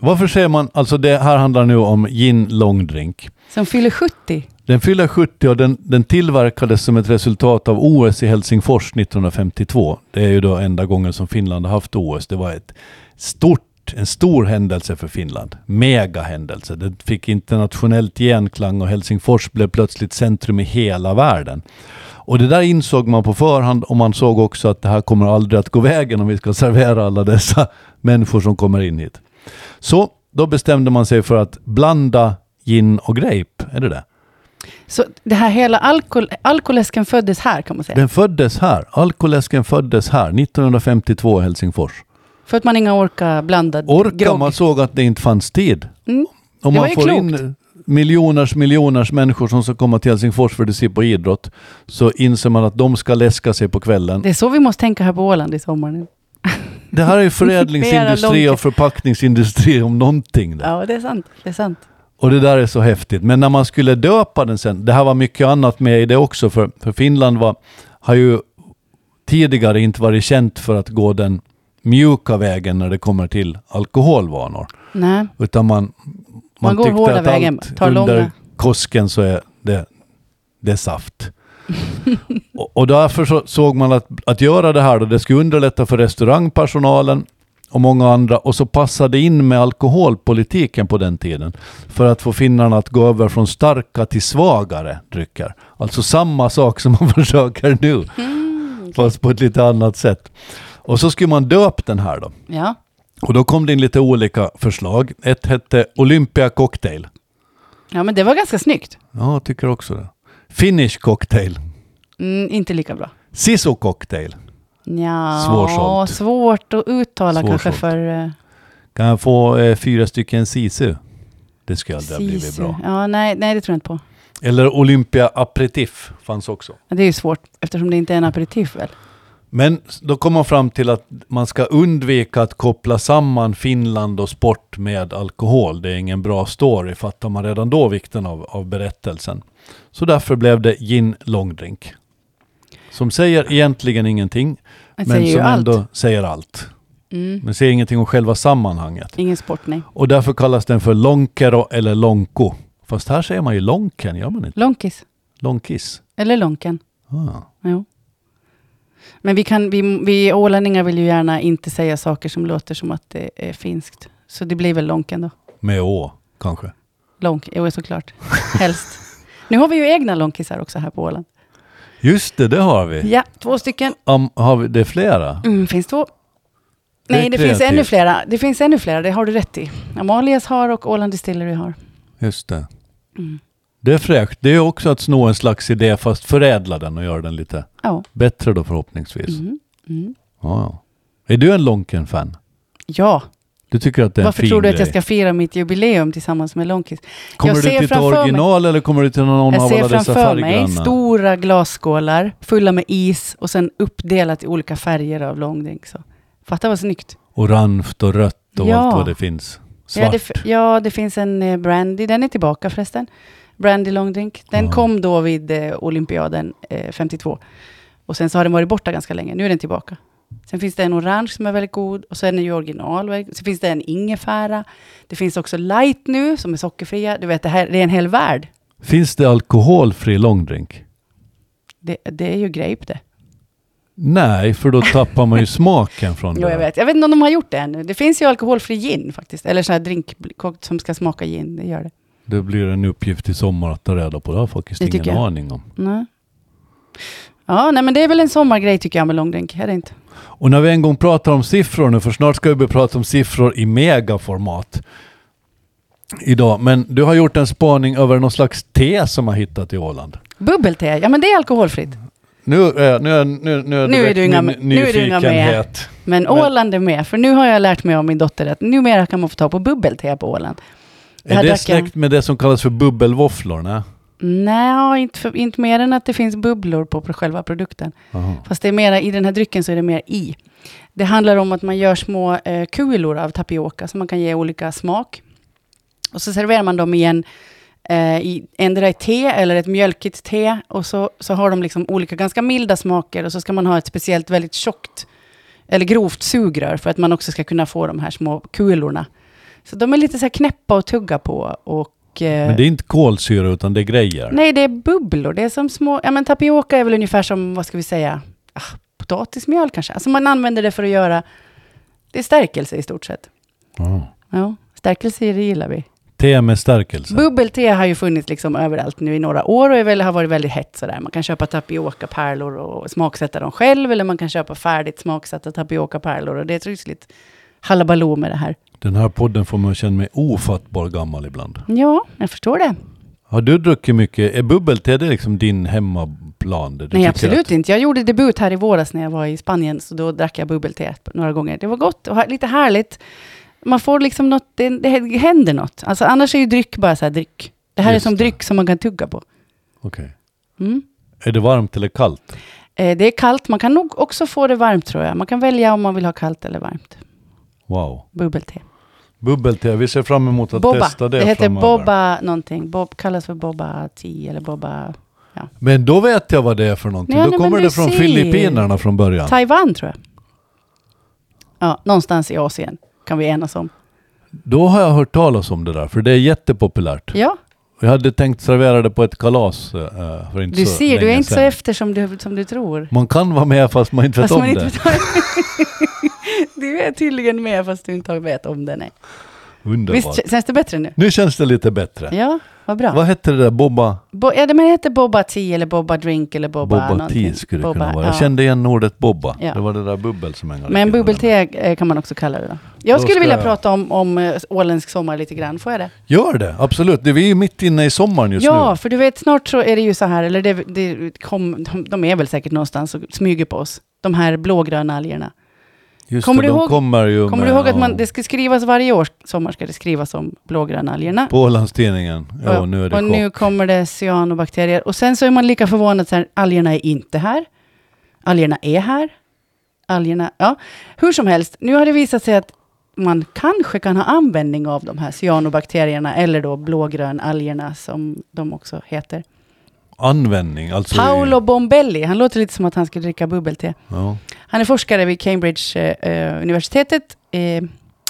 Speaker 2: Varför säger man, alltså det här handlar nu om gin långdrink.
Speaker 1: som fyller 70.
Speaker 2: Den fyller 70 och den, den tillverkades som ett resultat av OS i Helsingfors 1952. Det är ju då enda gången som Finland har haft OS. Det var ett stort, en stor händelse för Finland. Mega händelse. Den fick internationellt genklang och Helsingfors blev plötsligt centrum i hela världen. Och det där insåg man på förhand och man såg också att det här kommer aldrig att gå vägen om vi ska servera alla dessa människor som kommer in hit. Så då bestämde man sig för att blanda gin och grape. Är det det?
Speaker 1: Så det här hela alkohol, alkoläsken föddes här kan man säga.
Speaker 2: Den föddes här. Alkoläsken föddes här 1952 i Helsingfors.
Speaker 1: För att man inga orkar blandad
Speaker 2: Orkar
Speaker 1: grogg.
Speaker 2: man såg att det inte fanns tid.
Speaker 1: Mm.
Speaker 2: Om
Speaker 1: Det
Speaker 2: man
Speaker 1: var ju
Speaker 2: får in miljoners miljoners människor som ska komma till Helsingfors för att se på idrott så inser man att de ska läska sig på kvällen.
Speaker 1: Det är så vi måste tänka här på Åland i sommar nu.
Speaker 2: Det här
Speaker 1: (laughs)
Speaker 2: är ju förädlingsindustri
Speaker 1: Flera
Speaker 2: och förpackningsindustri om någonting. Där.
Speaker 1: Ja, det är sant. Det är sant.
Speaker 2: Och det där är så häftigt. Men när man skulle döpa den sen, det här var mycket annat med i det också, för, för Finland var, har ju tidigare inte varit känt för att gå den mjuka vägen när det kommer till alkoholvanor.
Speaker 1: Nej.
Speaker 2: Utan man, man,
Speaker 1: Man går
Speaker 2: tyckte
Speaker 1: hårda
Speaker 2: att
Speaker 1: vägen,
Speaker 2: allt
Speaker 1: tar
Speaker 2: under
Speaker 1: långa.
Speaker 2: kosken så är det, det
Speaker 1: (laughs)
Speaker 2: är saft. och, och därför så, såg man att, att göra det här då, det skulle underlätta för restaurangpersonalen och många andra och så passade in med alkoholpolitiken på den tiden för att få finnarna att gå över från starka till svagare drycker. Alltså samma sak som man (laughs) försöker nu,
Speaker 1: Mm,
Speaker 2: fast på ett lite annat sätt. Och så skulle man döpa den här då.
Speaker 1: Ja.
Speaker 2: Och då kom det in lite olika förslag. Ett hette Olympia Cocktail.
Speaker 1: ja, men det var ganska snyggt.
Speaker 2: Ja, jag tycker också det. Finnish Cocktail.
Speaker 1: Mm, inte lika bra.
Speaker 2: Siso Cocktail.
Speaker 1: Ja,
Speaker 2: Svårsålt.
Speaker 1: svårt att uttala kanske
Speaker 2: Svårsålt.
Speaker 1: för eh,
Speaker 2: Kan jag få eh, fyra stycken sisu? Det skulle aldrig ha blivit
Speaker 1: sisu.
Speaker 2: bra.
Speaker 1: Ja, nej, nej, det tror jag inte på.
Speaker 2: Eller Olympia Aperitif fanns också.
Speaker 1: Det är ju svårt eftersom det inte är en aperitif väl?
Speaker 2: Men s- då kom man fram till att man ska undvika att koppla samman Finland och sport med alkohol. Det är ingen bra story, fattar man redan då vikten av, av berättelsen. Så därför blev det gin långdrink. Som säger egentligen ingenting,
Speaker 1: Det
Speaker 2: men
Speaker 1: säger ju
Speaker 2: som
Speaker 1: allt.
Speaker 2: ändå säger allt.
Speaker 1: Mm.
Speaker 2: Men säger ingenting om själva sammanhanget.
Speaker 1: Ingen sport, nej.
Speaker 2: Och därför kallas den för lonkero eller lonko. Fast här säger man ju lonken, gör man inte?
Speaker 1: Lonkis.
Speaker 2: Lonkis.
Speaker 1: Eller lonken.
Speaker 2: Ah.
Speaker 1: Jo. Men vi, kan, vi, vi ålänningar vill ju gärna inte säga saker som låter som att det är finskt. Så det blir väl lonken då.
Speaker 2: Med å, kanske.
Speaker 1: Lonk, jo
Speaker 2: (laughs)
Speaker 1: såklart. Helst. Nu har vi ju egna lonkisar också här på Åland.
Speaker 2: Just det, det har vi.
Speaker 1: Ja, två stycken.
Speaker 2: Am, har vi det är flera?
Speaker 1: Mm, finns två. Nej, det, finns
Speaker 2: kreativt.
Speaker 1: ännu flera. Det finns ännu flera, det har du rätt i. Amalias har och Åland Distillery har.
Speaker 2: Just det.
Speaker 1: Mm.
Speaker 2: Det är fräscht. Det är också att sno en slags idé fast förädla den och göra den lite
Speaker 1: Ja.
Speaker 2: bättre då förhoppningsvis.
Speaker 1: Mm. Mm.
Speaker 2: Ja, ja. Är du en Lonken-fan?
Speaker 1: Ja,
Speaker 2: Du tycker att det är en
Speaker 1: varför
Speaker 2: fin
Speaker 1: tror du att
Speaker 2: grej?
Speaker 1: jag ska fira mitt jubileum tillsammans med Lonkis?
Speaker 2: Kommer
Speaker 1: jag
Speaker 2: du
Speaker 1: ser
Speaker 2: till ett
Speaker 1: framför mig-
Speaker 2: original eller kommer du till någon
Speaker 1: Jag
Speaker 2: av
Speaker 1: ser
Speaker 2: alla dessa
Speaker 1: framför mig
Speaker 2: färggranna?
Speaker 1: stora glasskålar fulla med is och sen uppdelat i olika färger av långdrink. Så. Fatta vad snyggt.
Speaker 2: Orange och rött och
Speaker 1: Ja.
Speaker 2: allt vad det finns. Svart.
Speaker 1: Ja det, f- ja, det finns en eh, brandy, den är tillbaka förresten. Brandy långdrink. Den
Speaker 2: Ja.
Speaker 1: kom då vid eh, olympiaden eh, 52. Och sen så har den varit borta ganska länge, nu är den tillbaka. Sen finns det en orange som är väldigt god och sen är ju original. väldigt- Sen finns det en ingefära. Det finns också light nu som är sockerfria. Du vet, det här det är en hel värld.
Speaker 2: Finns det alkoholfri långdrink?
Speaker 1: Det, det är ju grape det.
Speaker 2: Nej, för då
Speaker 1: (laughs)
Speaker 2: tappar man ju smaken från
Speaker 1: Jo,
Speaker 2: det.
Speaker 1: jag vet. Jag vet inte om de har gjort det ännu. Det finns ju alkoholfri gin faktiskt. Eller sån här drink som ska smaka gin. Det gör det.
Speaker 2: Det blir en uppgift i sommar att ta reda på. Det har jag faktiskt
Speaker 1: Det tycker
Speaker 2: ingen
Speaker 1: jag.
Speaker 2: aning om.
Speaker 1: Nej. Ja, nej men det är väl en sommargrej tycker jag med långdrink. Är det inte?
Speaker 2: Och när vi en gång pratar om siffror nu, för snart ska vi börja prata om siffror i megaformat idag. Men du har gjort en spaning över någon slags te som har hittat i Åland.
Speaker 1: Bubbel-te, ja men det är alkoholfritt.
Speaker 2: Nu, eh, nu, är- nu, nu, är
Speaker 1: Nu är
Speaker 2: direkt
Speaker 1: du inga
Speaker 2: min
Speaker 1: med- nu är du inga med.
Speaker 2: nyfikenhet.
Speaker 1: Men,
Speaker 2: Men-
Speaker 1: Åland är med, för nu har jag lärt mig av min dotter att numera kan man få ta på bubbel-te på Åland. Det
Speaker 2: Är
Speaker 1: här
Speaker 2: det
Speaker 1: drack jag-
Speaker 2: släkt med det som kallas för bubbelvåfflor? Nej.
Speaker 1: Nej, inte, för, inte mer än att det finns bubblor på, på själva produkten.
Speaker 2: Jaha.
Speaker 1: Fast det är mera, i den här drycken så är det mer i. Det handlar om att man gör små eh, kulor av tapioka som man kan ge olika smak. Och så serverar man dem i en, eh, i, endera i te eller ett mjölkigt te. Och så, så har de liksom olika ganska milda smaker och så ska man ha ett speciellt väldigt tjockt eller grovt sugrör för att man också ska kunna få de här små kulorna. Så de är lite så här knäppa att tugga på. Och, eh,
Speaker 2: Men det är inte kolsyra utan det är grejer.
Speaker 1: Nej, det är bubblor. Det är som små... Ja, men tapioka är väl ungefär som, vad ska vi säga, ah, potatismjöl kanske. Alltså man använder det för att göra... Det är stärkelse i stort sett.
Speaker 2: Ah.
Speaker 1: Ja, stärkelse det gillar vi.
Speaker 2: Te med stärkelse.
Speaker 1: Bubbelte har ju funnits liksom överallt nu i några år och är väl, har varit väldigt hett sådär. Man kan köpa tapiokapärlor och smaksätta dem själv eller man kan köpa färdigt smaksatta tapiokapärlor och det är ett rysligt hallabaloo med det här.
Speaker 2: Den här podden får mig att känna mig ofattbar gammal ibland.
Speaker 1: Ja, jag förstår det.
Speaker 2: Har du druckit mycket? Är bubbel-te det liksom din hemmaplan? Det du
Speaker 1: Nej,
Speaker 2: tycker
Speaker 1: absolut
Speaker 2: att-
Speaker 1: inte. Jag gjorde debut här i våras när jag var i Spanien, så då drack jag bubbel-te några gånger. Det var gott och ha- lite härligt. Man får liksom något, det, det händer något. Alltså annars är ju dryck bara så här dryck. Det här
Speaker 2: Just
Speaker 1: är som
Speaker 2: det.
Speaker 1: dryck som man kan tugga på.
Speaker 2: Okej.
Speaker 1: Mm.
Speaker 2: Är det varmt eller kallt?
Speaker 1: Eh, det är kallt, man kan nog också få det varmt tror jag. Man kan välja om man vill ha kallt eller varmt.
Speaker 2: Wow.
Speaker 1: Bubbel-te.
Speaker 2: Bubbel-te, vi ser fram emot att
Speaker 1: Bobba.
Speaker 2: testa det,
Speaker 1: det heter
Speaker 2: framöver.
Speaker 1: Bobba någonting. Bob, kallas för Bobba 10 eller Bobba
Speaker 2: Men då vet jag vad det är för någonting.
Speaker 1: Ja,
Speaker 2: då
Speaker 1: nej, men
Speaker 2: kommer
Speaker 1: du
Speaker 2: det från
Speaker 1: ser.
Speaker 2: Filippinerna från början.
Speaker 1: Taiwan tror jag. Ja, någonstans i Asien kan vi enas om.
Speaker 2: Då har jag hört talas om det där, för det är jättepopulärt.
Speaker 1: Ja.
Speaker 2: Jag hade tänkt servera det på ett kalas eh, för inte
Speaker 1: Du
Speaker 2: så
Speaker 1: ser, du är
Speaker 2: länge
Speaker 1: inte så
Speaker 2: sedan.
Speaker 1: efter som du, som du tror.
Speaker 2: Man kan vara med fast man inte vet
Speaker 1: Fast
Speaker 2: om
Speaker 1: man inte
Speaker 2: det.
Speaker 1: vet om- (laughs) du är tydligen med fast du inte vet om det. Nej.
Speaker 2: Underbart.
Speaker 1: Visst känns det bättre nu?
Speaker 2: Nu känns det lite bättre.
Speaker 1: Ja, vad bra.
Speaker 2: Vad hette det där? Bobba,
Speaker 1: Bo, ja, det men heter Bobba Tea eller Bobba Drink eller Bobba,
Speaker 2: Bobba
Speaker 1: någonting.
Speaker 2: Tea skulle det
Speaker 1: Bobba,
Speaker 2: kunna vara.
Speaker 1: ja.
Speaker 2: Jag kände igen ordet Bobba.
Speaker 1: Ja.
Speaker 2: Det var det där bubbel som en gång
Speaker 1: Men
Speaker 2: gick in i den.
Speaker 1: bubbel-te eh, kan man också kalla det. Då. Jag
Speaker 2: Då
Speaker 1: skulle
Speaker 2: ska
Speaker 1: vilja
Speaker 2: jag-
Speaker 1: prata om, om eh, åländsk sommar lite grann. Får jag det?
Speaker 2: Gör det, absolut. Det, vi är ju mitt inne i sommaren just
Speaker 1: ja,
Speaker 2: nu.
Speaker 1: för du vet, snart så är det ju så här, eller det, det kom, de, de är väl säkert någonstans och smyger på oss. De här blågröna algerna.
Speaker 2: Just
Speaker 1: kommer
Speaker 2: det,
Speaker 1: du
Speaker 2: de
Speaker 1: ihåg-
Speaker 2: kommer ju
Speaker 1: Kommer
Speaker 2: med,
Speaker 1: du ihåg att
Speaker 2: ja,
Speaker 1: man, det ska skrivas varje år, sommar ska det skrivas om blågröna algerna.
Speaker 2: På Ålandstidningen. Ja,
Speaker 1: och
Speaker 2: nu är det
Speaker 1: och
Speaker 2: chock.
Speaker 1: nu kommer det cyanobakterier. Och sen så är man lika förvånad, så här, algerna är inte här. Algerna är här. Algerna, ja. Hur som helst, nu har det visat sig att man kanske kan ha användning av de här cyanobakterierna, eller då blågrönalgerna som de också heter.
Speaker 2: Användning, alltså... i-
Speaker 1: Paolo Bombelli, han låter lite som att han skulle dricka bubbel-te.
Speaker 2: Ja,
Speaker 1: Han är forskare vid Cambridge-universitetet, eh,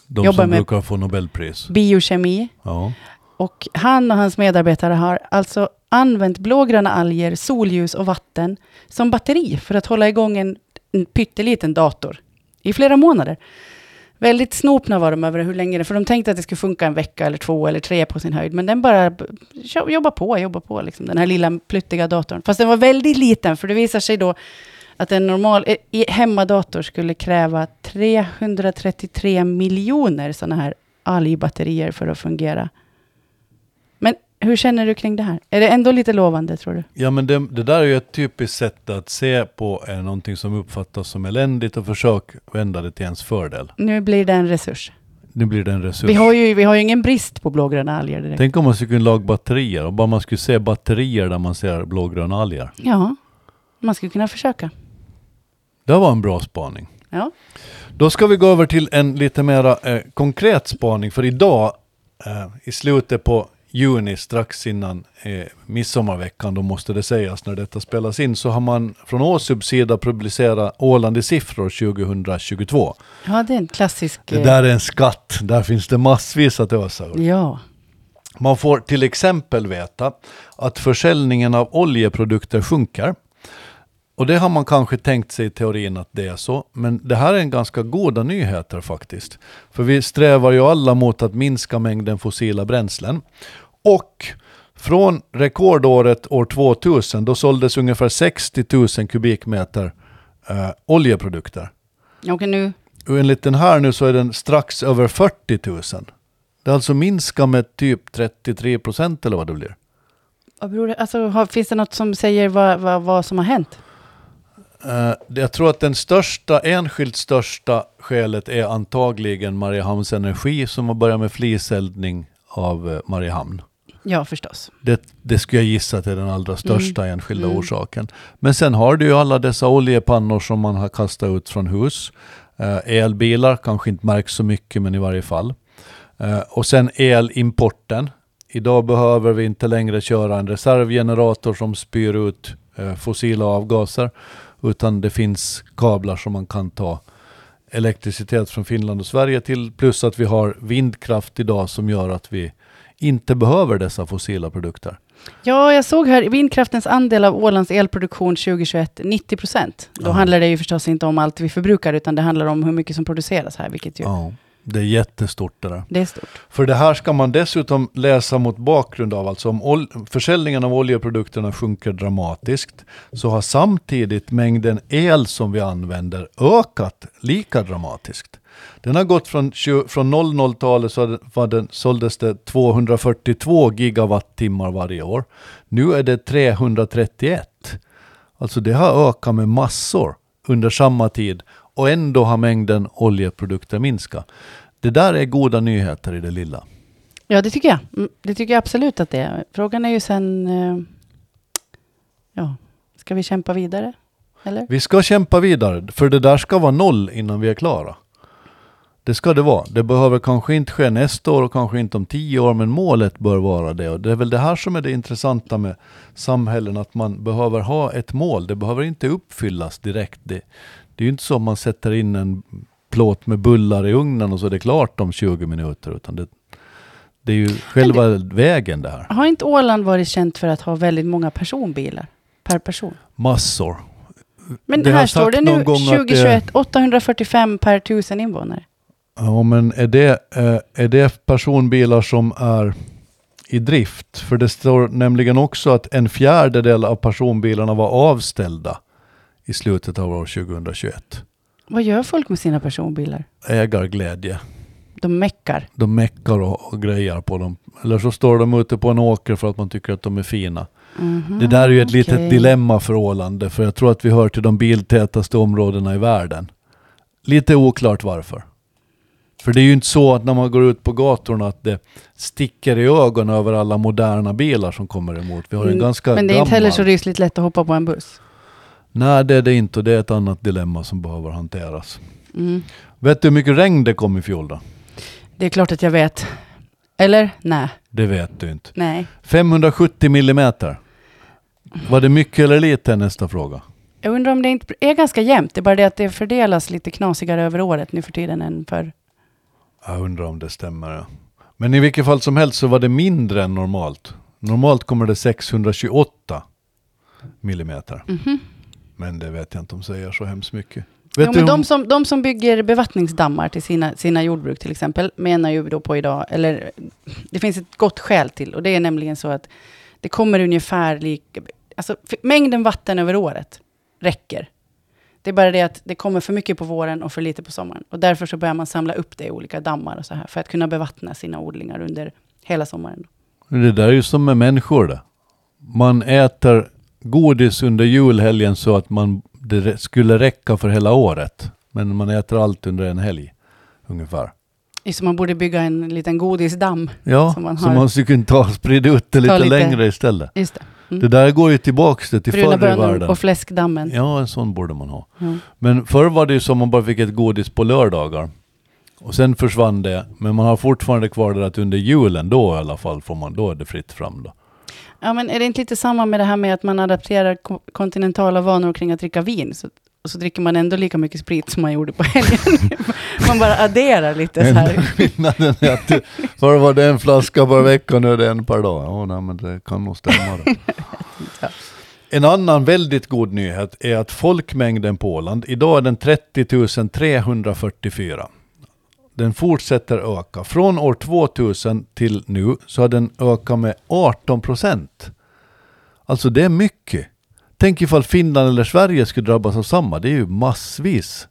Speaker 2: de
Speaker 1: Jobbar
Speaker 2: som
Speaker 1: med-
Speaker 2: brukar få Nobelpris.
Speaker 1: biokemi.
Speaker 2: Ja.
Speaker 1: Och han och hans medarbetare har alltså använt blågröna alger, solljus och vatten som batteri för att hålla igång en, en pytteliten dator i flera månader. Väldigt snopna var de över hur länge det, för de tänkte att det skulle funka en vecka eller två eller tre på sin höjd, men den bara b- jo- jobbar på, jobbar på, liksom, den här lilla pluttiga datorn. Fast den var väldigt liten, för det visar sig då Att en normal eh, i- hemmadator skulle kräva 333 miljoner sådana här algbatterier för att fungera. Men hur känner du kring det här? Är det ändå lite lovande tror du?
Speaker 2: Ja, men det, det där är ju ett typiskt sätt att se på eh, någonting som uppfattas som eländigt och försök vända det till ens fördel.
Speaker 1: Nu blir det en resurs.
Speaker 2: Nu blir det en resurs.
Speaker 1: Vi har ju, vi har ju ingen brist på blågröna alger direkt.
Speaker 2: Tänk om man skulle kunna laga batterier och bara man skulle se batterier där man ser blågröna alger.
Speaker 1: Ja, man skulle kunna försöka.
Speaker 2: Det var en bra spaning.
Speaker 1: Ja.
Speaker 2: Då ska vi gå över till en lite mera eh, konkret spaning för idag eh, i slutet på juni strax innan eh, midsommarveckan, då måste det sägas när detta spelas in, så har man från Åsubs sida publicerat Åland i siffror 2022.
Speaker 1: ja, det är en klassisk...
Speaker 2: Det
Speaker 1: eh,
Speaker 2: där är en skatt, där finns det massvis att ösa ur.
Speaker 1: Ja.
Speaker 2: Man får till exempel veta att försäljningen av oljeprodukter sjunker. Och det har man kanske tänkt sig i teorin att det är så, men det här är en ganska goda nyheter faktiskt. För vi strävar ju alla mot att minska mängden fossila bränslen. Och från rekordåret år 2000, då såldes ungefär 60 000 kubikmeter eh, oljeprodukter.
Speaker 1: Okej, nu...
Speaker 2: Och enligt den här nu så är den strax över 40 000. Det har alltså minskat med typ 33 procent eller vad det blir.
Speaker 1: Vad beror det, alltså, har, finns det något som säger vad, vad, vad som har hänt?
Speaker 2: Eh, jag tror att den största, enskilt största skälet är antagligen Mariehamns Energi som har börjat med fliseldning av eh, Mariehamn.
Speaker 1: Ja, förstås.
Speaker 2: Det, det skulle jag gissa att det är den allra största enskilda orsaken. Men sen har du ju alla dessa oljepannor som man har kastat ut från hus. Eh, elbilar kanske inte märks så mycket, men i varje fall. Eh, och sen elimporten. Idag behöver vi inte längre köra en reservgenerator som spyr ut eh, fossila avgaser, utan det finns kablar som man kan ta elektricitet från Finland och Sverige till, plus att vi har vindkraft idag som gör att vi inte behöver dessa fossila produkter.
Speaker 1: Ja, jag såg här vindkraftens andel av Ålands elproduktion 2021, 90 procent. Då
Speaker 2: Ja.
Speaker 1: handlar det ju förstås inte om allt vi förbrukar, utan det handlar om hur mycket som produceras här, vilket ju...
Speaker 2: Ja, det är jättestort det där.
Speaker 1: Det är stort.
Speaker 2: För det här ska man dessutom läsa mot bakgrund av, alltså om ol- försäljningen av oljeprodukterna sjunker dramatiskt, så har samtidigt mängden el som vi använder ökat lika dramatiskt. Den har gått från, tju- från 00-talet så hade- var den, såldes det 242 gigawattimmar varje år. Nu är det 331. Alltså det har ökat med massor under samma tid och ändå har mängden oljeprodukter minskat. Det där är goda nyheter i det lilla.
Speaker 1: Ja, det tycker jag. Mm, Det tycker jag absolut att det är. Frågan är ju sen... eh, Ja, ska vi kämpa vidare? Eller?
Speaker 2: Vi ska kämpa vidare, för det där ska vara noll innan vi är klara. Det ska det vara. Det behöver kanske inte ske nästa år och kanske inte om tio år, men målet bör vara det. Och det är väl det här som är det intressanta med samhällen, att man behöver ha ett mål. Det behöver inte uppfyllas direkt. Det, det är ju inte så att man sätter in en plåt med bullar i ugnen och så är det klart om 20 minuter, utan det, det är ju själva vägen det här.
Speaker 1: Har inte Åland varit känt för att ha väldigt många personbilar? Per person?
Speaker 2: Massor.
Speaker 1: Men
Speaker 2: Det har
Speaker 1: här står
Speaker 2: sagt
Speaker 1: det
Speaker 2: någon
Speaker 1: nu
Speaker 2: gång att
Speaker 1: 2021,
Speaker 2: det-
Speaker 1: 845 per tusen invånare.
Speaker 2: Ja, men är det, eh, är det personbilar som är i drift? För det står nämligen också att en fjärdedel av personbilarna var avställda i slutet av år 2021.
Speaker 1: Vad gör folk med sina personbilar?
Speaker 2: Ägarglädje.
Speaker 1: De meckar.
Speaker 2: De meckar och, och grejar på dem. Eller så står de ute på en åker för att man tycker att de är fina.
Speaker 1: Mhm,
Speaker 2: Det där är ju ett
Speaker 1: okej.
Speaker 2: litet dilemma för Åland, för jag tror att vi hör till de biltätaste områdena i världen. Lite oklart varför. För det är ju inte så att när man går ut på gatorna att det sticker i ögonen över alla moderna bilar som kommer emot. Vi har ju en
Speaker 1: Mm,
Speaker 2: ganska
Speaker 1: Men det är inte heller
Speaker 2: gammal...
Speaker 1: så rysligt lätt att hoppa på en buss.
Speaker 2: Nej, det är det inte och det är ett annat dilemma som behöver hanteras.
Speaker 1: Mm.
Speaker 2: Vet du hur mycket regn det kom i fjol då?
Speaker 1: Det är klart att jag vet. Eller? Nej.
Speaker 2: Det vet du inte.
Speaker 1: Nej.
Speaker 2: 570 millimeter. Var det mycket eller lite är nästa fråga?
Speaker 1: Jag undrar om det inte är ganska jämnt. Det är bara det att det fördelas lite knasigare över året nu för tiden än för...
Speaker 2: Jag undrar om det stämmer. ja. Men i vilket fall som helst så var det mindre än normalt. Normalt kommer det 628 millimeter. Men det vet jag inte om säger så hemskt mycket. Vet
Speaker 1: Jo,
Speaker 2: du
Speaker 1: men
Speaker 2: om-
Speaker 1: de, som, de som bygger bevattningsdammar till sina, sina jordbruk till exempel, menar ju då på idag, eller det finns ett gott skäl till, och det är nämligen så att det kommer ungefär lik, alltså f- mängden vatten över året räcker Det är bara det att det kommer för mycket på våren och för lite på sommaren. Och därför så börjar man samla upp det i olika dammar och så här, för att kunna bevattna sina odlingar under hela sommaren.
Speaker 2: Det där är ju som med människor det. Man äter godis under julhelgen så att man, det rä- skulle räcka för hela året. Men man äter allt under en helg, ungefär.
Speaker 1: Så man borde bygga en liten godisdamm.
Speaker 2: Ja,
Speaker 1: Som man
Speaker 2: så
Speaker 1: har-
Speaker 2: man skulle kunna ta, sprida ut det lite,
Speaker 1: lite-
Speaker 2: längre istället.
Speaker 1: Just det. Mm.
Speaker 2: Det där går ju tillbaks det till
Speaker 1: Bruna
Speaker 2: förr i
Speaker 1: bönor
Speaker 2: världen.
Speaker 1: och fläskdammen.
Speaker 2: Ja, en sån borde man ha.
Speaker 1: Ja.
Speaker 2: Men förr var det ju som man bara fick ett godis på lördagar. Och sen försvann det, men man har fortfarande kvar det att under julen, då i alla fall, får man, då är det fritt fram då.
Speaker 1: Ja, men är det inte lite samma med det här med att man adapterar ko- kontinentala vanor kring att dricka vin? Så, och så dricker man ändå lika mycket sprit som man gjorde på helgen. (laughs) man bara adderar lite så
Speaker 2: Enda
Speaker 1: här.
Speaker 2: (laughs) skillnaden är att det- förr var det en flaska per vecka, nu är det en per dag. Ja, nej, men det kan nog stämma
Speaker 1: (laughs)
Speaker 2: det. En annan väldigt god nyhet är att folkmängden på Åland, idag är den 30 344. Den fortsätter öka. Från år 2000 till nu så har den ökat med 18 procent. Alltså det är mycket. Tänk ifall Finland eller Sverige skulle drabbas av samma. Det är ju massvis.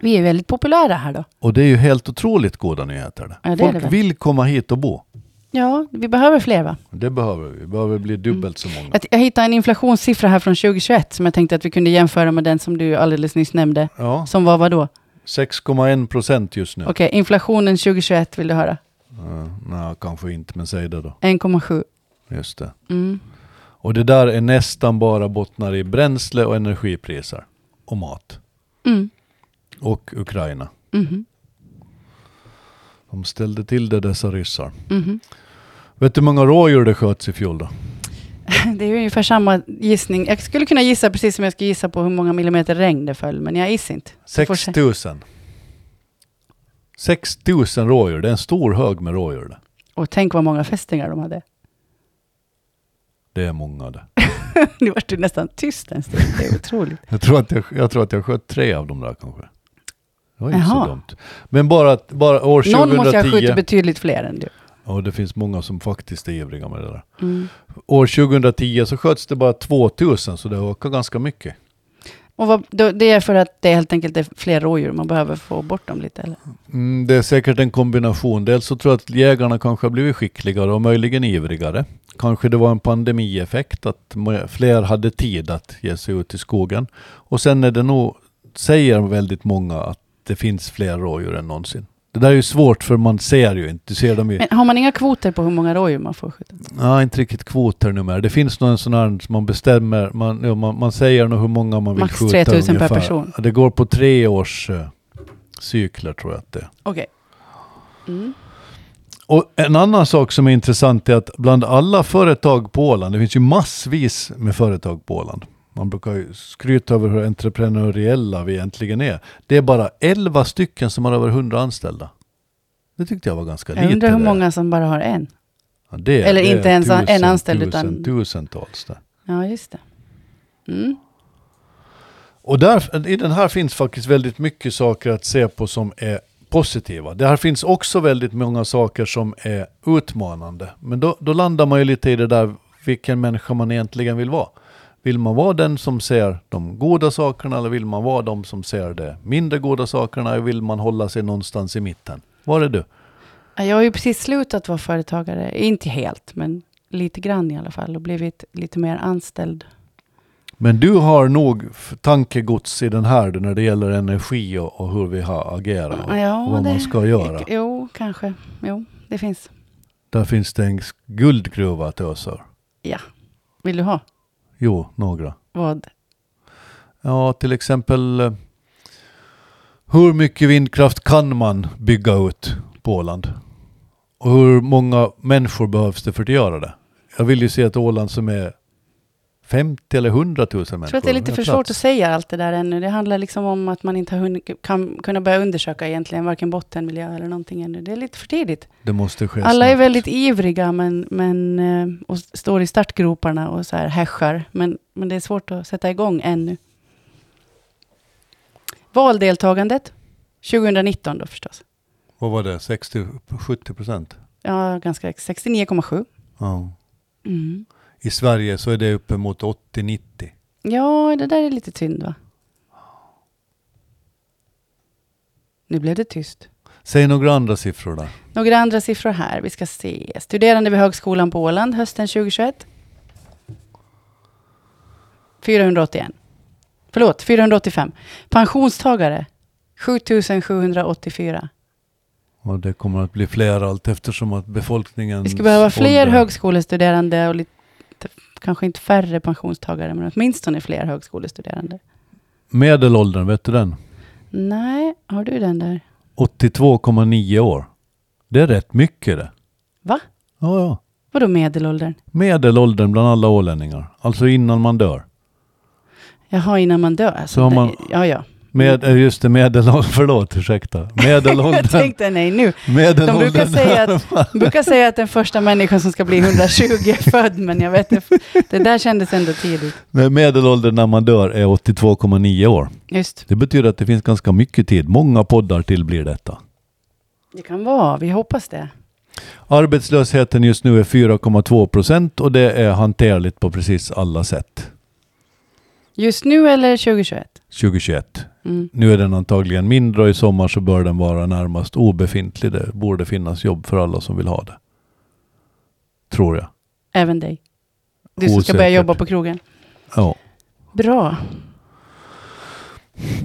Speaker 1: Vi är väldigt populära här då.
Speaker 2: Och det är ju helt otroligt goda nyheter.
Speaker 1: Ja, det är
Speaker 2: Folk
Speaker 1: det väl.
Speaker 2: vill komma hit och bo.
Speaker 1: Ja, vi behöver fler va?
Speaker 2: Det behöver vi. Vi behöver bli dubbelt så många.
Speaker 1: Mm. Jag, jag hittade en inflationssiffra här från 2021 som jag tänkte att vi kunde jämföra med den som du alldeles nyss nämnde.
Speaker 2: Ja,
Speaker 1: Som var vad då?
Speaker 2: 6,1 procent just nu.
Speaker 1: Okej, inflationen 2021 vill du höra?
Speaker 2: Ja, nej, kanske inte, men säg det då.
Speaker 1: 1,7.
Speaker 2: Just det.
Speaker 1: Mm.
Speaker 2: Och det där är nästan bara bottnar i bränsle och energipriser. Och mat.
Speaker 1: Mm.
Speaker 2: Och Ukraina.
Speaker 1: Mhm.
Speaker 2: De ställde till det dessa ryssar.
Speaker 1: Mhm.
Speaker 2: Vet du hur många rådjur det sköts i fjol då?
Speaker 1: (laughs) Det är ju ungefär samma gissning. Jag skulle kunna gissa precis som jag ska gissa på hur många millimeter regn det föll, men jag gissar inte. Så får
Speaker 2: 6 000. 6 000 rådjur. Det är en stor hög med rådjur. Det,
Speaker 1: Och tänk vad många fästingar de hade. (laughs)
Speaker 2: det är många det.
Speaker 1: Nu vart det nästan tyst en stund. Det är otroligt.
Speaker 2: Jag tror att jag, jag, tror att jag sköt tre av dem där kanske. Det var inte så
Speaker 1: Jaha.
Speaker 2: dumt. Men bara, att- bara år
Speaker 1: Någon måste jag skjuta
Speaker 2: 2010.
Speaker 1: betydligt fler än du.
Speaker 2: Ja, det finns många som faktiskt är ivriga med det där.
Speaker 1: Mm.
Speaker 2: År 2010 så sköts det bara 2000 så det ökar ganska mycket.
Speaker 1: Och vad, då, det är för att det helt enkelt är fler rådjur. Man behöver få bort dem lite. Eller?
Speaker 2: Mm, det är säkert en kombination. Dels så tror jag att jägarna kanske har blivit skickligare och möjligen ivrigare. Kanske det var en pandemieffekt att må- fler hade tid att ge sig ut i skogen. Och sen är det nog, säger väldigt många att det finns fler rådjur än någonsin. Det där är ju svårt för man ser ju inte. Du ser dem ju.
Speaker 1: Men har man inga kvoter på hur många rådjur man får skjuta?
Speaker 2: Nej, inte riktigt kvoter numera. Det finns någon sån här som man bestämmer, man, ja, man, man säger nog hur många man vill
Speaker 1: Max
Speaker 2: skjuta
Speaker 1: 3000 per
Speaker 2: ungefär.
Speaker 1: person.
Speaker 2: Det går på tre års eh, cykler tror jag att det är.
Speaker 1: Okej. Mm.
Speaker 2: Och en annan sak som är intressant är att bland alla företag på Åland, det finns ju massvis med företag på Åland. Man brukar ju skryta över hur entreprenöriella vi egentligen är. Det är bara 11 stycken som har över 100 anställda. Det tyckte jag var ganska lite.
Speaker 1: Jag undrar hur
Speaker 2: det.
Speaker 1: många som bara har en.
Speaker 2: Ja, det,
Speaker 1: eller
Speaker 2: det är
Speaker 1: inte ens en anställd,
Speaker 2: tusen,
Speaker 1: utan-
Speaker 2: Tusentals där.
Speaker 1: Ja, just det. Mm.
Speaker 2: Och där, i den här finns faktiskt väldigt mycket saker att se på som är positiva. Det här finns också väldigt många saker som är utmanande. Men då, då landar man ju lite i det där vilken människa man egentligen vill vara. Vill man vara den som ser de goda sakerna eller vill man vara de som ser de mindre goda sakerna? Eller vill man hålla sig någonstans i mitten? Var är du?
Speaker 1: Ja, Jag har ju precis slutat vara företagare. Inte helt, men lite grann i alla fall. Och blivit lite mer anställd.
Speaker 2: Men du har nog f- tankegods i den här när det gäller energi och, och hur vi har agerat och,
Speaker 1: Ja,
Speaker 2: och vad
Speaker 1: det-
Speaker 2: man ska göra.
Speaker 1: Jo, kanske. Jo, det finns.
Speaker 2: Där finns det en guldgruva att ösa ur.
Speaker 1: Vill du ha?
Speaker 2: Jo, några.
Speaker 1: Vad?
Speaker 2: Ja, till exempel eh, hur mycket vindkraft kan man bygga ut på Åland? Och hur många människor behövs det för att göra det? Jag vill ju se ett Åland som är 50 eller 100 000 människor.
Speaker 1: Jag tror att det är lite
Speaker 2: med
Speaker 1: för
Speaker 2: plats.
Speaker 1: svårt att säga allt det där ännu. Det handlar liksom om att man inte har hunnit, kan kunna börja undersöka egentligen varken bottenmiljö eller någonting ännu. Det är lite för tidigt.
Speaker 2: Det måste ske
Speaker 1: Alla är
Speaker 2: snabbt.
Speaker 1: väldigt ivriga men, men, eh, och står i startgroparna och så här häschar. Men, men det är svårt att sätta igång ännu. Valdeltagandet 2019 då förstås.
Speaker 2: Vad var det? 60-70 procent?
Speaker 1: Ja, ganska ex- 69,7.
Speaker 2: Ja.
Speaker 1: Mm.
Speaker 2: I Sverige så är det uppemot 80-90.
Speaker 1: Ja, det där är lite synd va? Nu blev det tyst.
Speaker 2: Säg några andra siffror där.
Speaker 1: Några andra siffror här, vi ska se. Studerande vid Högskolan på Åland hösten 2021. 481. Förlåt, 485. Pensionstagare, 7784.
Speaker 2: Och det kommer att bli fler allt eftersom att befolkningen...
Speaker 1: Vi skulle behöva fler högskolestuderande och lite, kanske inte färre pensionstagare, men åtminstone fler högskolestuderande.
Speaker 2: Medelåldern, vet du den?
Speaker 1: Nej, har du den där?
Speaker 2: 82,9 år. Det är rätt mycket det.
Speaker 1: Va?
Speaker 2: Ja, ja.
Speaker 1: Vadå medelåldern?
Speaker 2: Medelåldern bland alla ålänningar. Alltså innan man dör.
Speaker 1: Jaha, innan man dör? Alltså.
Speaker 2: Så har man-
Speaker 1: Ja,
Speaker 2: (laughs)
Speaker 1: ja.
Speaker 2: Med, eh, just det, medelåldern. (laughs) Förlåt, ursäkta.
Speaker 1: Mm. (laughs) Jag
Speaker 2: Medelåldern.
Speaker 1: tänkte nej nu.
Speaker 2: medelåldern
Speaker 1: De brukar säga,
Speaker 2: (laughs)
Speaker 1: att, brukar säga att den första människan som ska bli 120 är född, men jag vet inte. Det där kändes ändå tidigt.
Speaker 2: Nej, Medelåldern när man dör är 82,9 år.
Speaker 1: Just.
Speaker 2: Det betyder att det finns ganska mycket tid. Många poddar till blir detta.
Speaker 1: Det kan vara, vi hoppas det.
Speaker 2: Arbetslösheten just nu är 4,2 procent och det är hanterligt på precis alla sätt.
Speaker 1: Just nu eller 2021?
Speaker 2: 2021.
Speaker 1: Mm.
Speaker 2: Nu är den antagligen mindre och i sommar så bör den vara närmast obefintlig. Det borde finnas jobb för alla som vill ha det. Tror jag.
Speaker 1: Även dig. Du som ska börja
Speaker 2: Osäkert.
Speaker 1: jobba på krogen.
Speaker 2: Ja.
Speaker 1: Bra.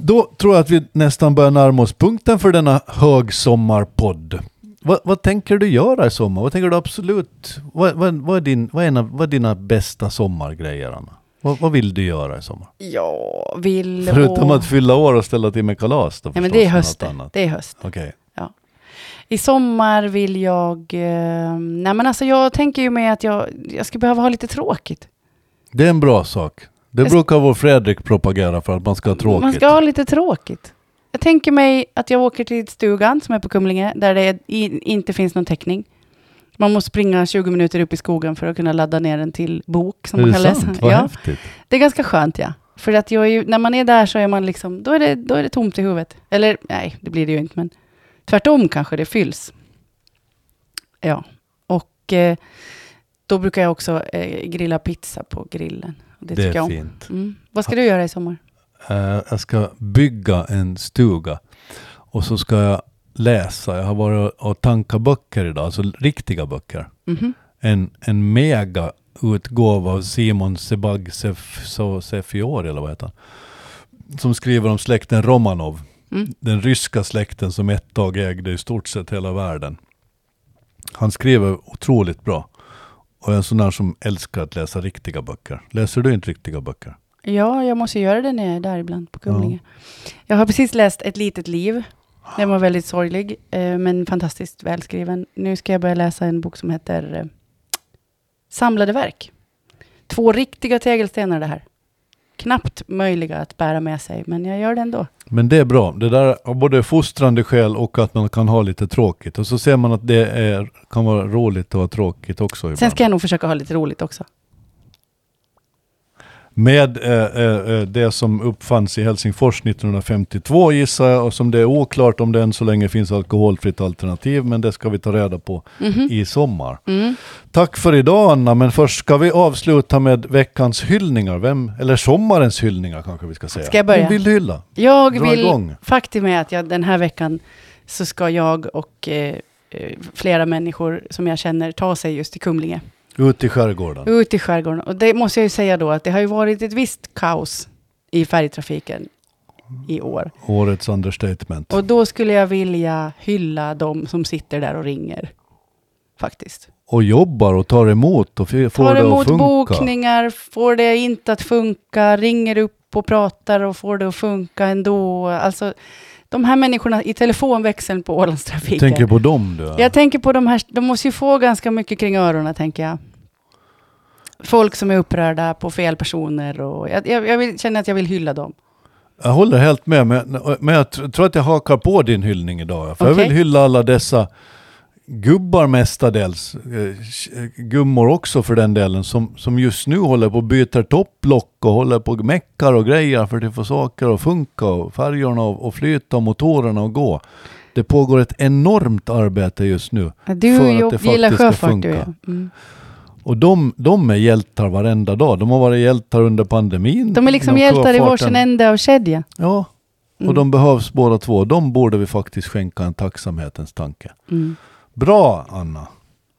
Speaker 2: Då tror jag att vi nästan börjar närma oss punkten för denna högsommarpodd. Vad, vad tänker du göra i sommar? Vad tänker du absolut? Vad, vad, vad, är, din, vad, är, en av- vad är dina bästa sommargrejer, Anna? Vad, vad vill du göra i sommar?
Speaker 1: Jag vill...
Speaker 2: Förutom
Speaker 1: å-
Speaker 2: att fylla år och ställa till med kalas då
Speaker 1: Nej, men
Speaker 2: förstås,
Speaker 1: det är
Speaker 2: något
Speaker 1: höst. det.
Speaker 2: annat.
Speaker 1: Det är höst.
Speaker 2: Okej.
Speaker 1: I sommar vill jag... Eh, nej, men alltså jag tänker ju med att jag, jag ska behöva ha lite tråkigt.
Speaker 2: Det är en bra sak. Det
Speaker 1: Jag s-
Speaker 2: brukar vår Fredrik propagera för att man ska ha tråkigt.
Speaker 1: Man ska ha lite tråkigt. Jag tänker mig att jag åker till stugan som är på Kumlinge, där det i, inte finns någon täckning. Man måste springa 20 minuter upp i skogen för att kunna ladda ner en till bok som
Speaker 2: är
Speaker 1: man
Speaker 2: det
Speaker 1: kan
Speaker 2: sant?
Speaker 1: läsa.
Speaker 2: Vad
Speaker 1: Ja,
Speaker 2: häftigt.
Speaker 1: det är ganska skönt, ja. För att jag är ju, när man är där så är man liksom, då är, det, då är det tomt i huvudet. Eller nej, det blir det ju inte, men tvärtom kanske det fylls. Ja, och eh, då brukar jag också eh, grilla pizza på grillen. Och det,
Speaker 2: Det
Speaker 1: tycker jag
Speaker 2: är
Speaker 1: om.
Speaker 2: fint.
Speaker 1: Mm. Vad ska du göra i sommar?
Speaker 2: Eh, jag ska bygga en stuga och så ska jag läsa. Jag har varit och tankat böcker idag, alltså riktiga böcker.
Speaker 1: Mhm.
Speaker 2: En, en mega utgåva av Simon Sebag Sef- So- Sefiori, eller vad heter han? Som skriver om släkten Romanov.
Speaker 1: Mm.
Speaker 2: Den ryska släkten som ett tag ägde i stort sett hela världen. Han skriver otroligt bra. Och jag är en sån där som älskar att läsa riktiga böcker. Läser du inte riktiga böcker?
Speaker 1: Ja, jag måste göra det när jag är där ibland på Kumlinge. Jag har precis läst Ett litet liv. Den
Speaker 2: Ah.
Speaker 1: var väldigt sorglig, eh, men fantastiskt välskriven. Nu ska jag börja läsa en bok som heter eh, Samlade verk. Två riktiga tegelstenar det här. Knappt möjliga att bära med sig, men jag gör det ändå.
Speaker 2: Men det är bra. Det där har både fostrande skäl och att man kan ha lite tråkigt. Och så ser man att det är, kan vara roligt att ha tråkigt också ibland.
Speaker 1: Sen ska jag nog försöka ha lite roligt också.
Speaker 2: Med eh, eh, eh, det som uppfanns i Helsingfors 1952 gissar jag, och som det är oklart om det än så länge finns alkoholfritt alternativ, men det ska vi ta reda på
Speaker 1: Mhm.
Speaker 2: i sommar.
Speaker 1: Mm.
Speaker 2: Tack för idag Anna, men först ska vi avsluta med veckans hyllningar, Vem, eller sommarens hyllningar kanske vi ska säga.
Speaker 1: Ska jag börja?
Speaker 2: Vem vill du hylla?
Speaker 1: Jag
Speaker 2: Dra igång.
Speaker 1: vill faktiskt med att jag, den här veckan så ska jag och eh, eh, flera människor som jag känner ta sig just till Kumlinge.
Speaker 2: Ut i skärgården.
Speaker 1: Ut i skärgården. Och det måste jag ju säga då att det har ju varit ett visst kaos i färjetrafiken i år.
Speaker 2: Årets understatement.
Speaker 1: Och då skulle jag vilja hylla de som sitter där och ringer. Faktiskt.
Speaker 2: och jobbar och tar emot och f- får
Speaker 1: Tar
Speaker 2: det
Speaker 1: emot
Speaker 2: att funka.
Speaker 1: bokningar, får det inte att funka, ringer upp och pratar och får det att funka ändå. Alltså, de här människorna i telefonväxeln på
Speaker 2: Jag
Speaker 1: Ålandstrafiken.
Speaker 2: tänker på dem du.
Speaker 1: Jag tänker på de här, de måste ju få ganska mycket kring öronen, tänker jag. Folk som är upprörda på fel personer och jag, jag, jag vill, känner att jag vill hylla dem.
Speaker 2: Jag håller helt med, men, men jag tr- tror att jag hakar på din hyllning idag. För Jag
Speaker 1: Okej.
Speaker 2: vill hylla alla dessa gubbar mestadels, eh, gummor också för den delen, som, som just nu håller på och byter topplock och håller på och meckar och grejer för att få saker att funka och färjorna och, och flyta och motorerna att gå. Det pågår ett enormt arbete just nu.
Speaker 1: Du
Speaker 2: För att
Speaker 1: jobb,
Speaker 2: det
Speaker 1: gillar
Speaker 2: faktiskt ska
Speaker 1: sjöfart du
Speaker 2: funka.
Speaker 1: ja. mm.
Speaker 2: Och de, de är hjältar varenda dag. De har varit hjältar under pandemin.
Speaker 1: De är liksom
Speaker 2: Inom
Speaker 1: hjältar i
Speaker 2: sjöfarten.
Speaker 1: varsin ände av kedjan.
Speaker 2: Ja, Och de behövs båda två. De borde vi faktiskt skänka en tacksamhetens tanke.
Speaker 1: Mm.
Speaker 2: Bra Anna!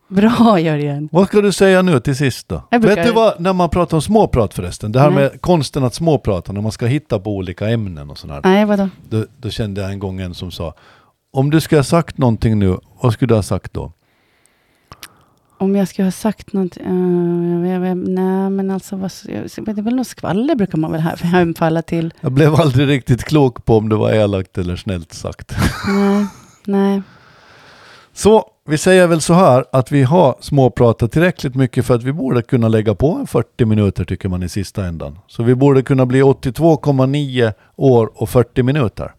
Speaker 1: Bra Jörgen.
Speaker 2: Vad ska du säga nu till sist då?
Speaker 1: Jag brukar- Mm.
Speaker 2: Vet du vad, när man pratar om småprat förresten, det här
Speaker 1: Nej.
Speaker 2: med konsten att småprata, när man ska hitta på olika ämnen och sådär.
Speaker 1: Nej, vadå?
Speaker 2: Då, då kände jag en gång en som sa, om du skulle ha sagt någonting nu, vad skulle du ha sagt då?
Speaker 1: Om jag skulle ha sagt något... eh, jag vet- jag vet- nej, men alltså vad, det är väl något skvaller brukar man väl här- (laughs) hemfalla till.
Speaker 2: Jag blev (laughs) aldrig riktigt klok på om det var elakt eller snällt sagt.
Speaker 1: Nej, nej.
Speaker 2: Så vi säger väl så här att vi har småpratat tillräckligt mycket för att vi borde kunna lägga på en 40 minuter tycker man i sista ändan. Så vi borde kunna bli 82,9 år och 40 minuter.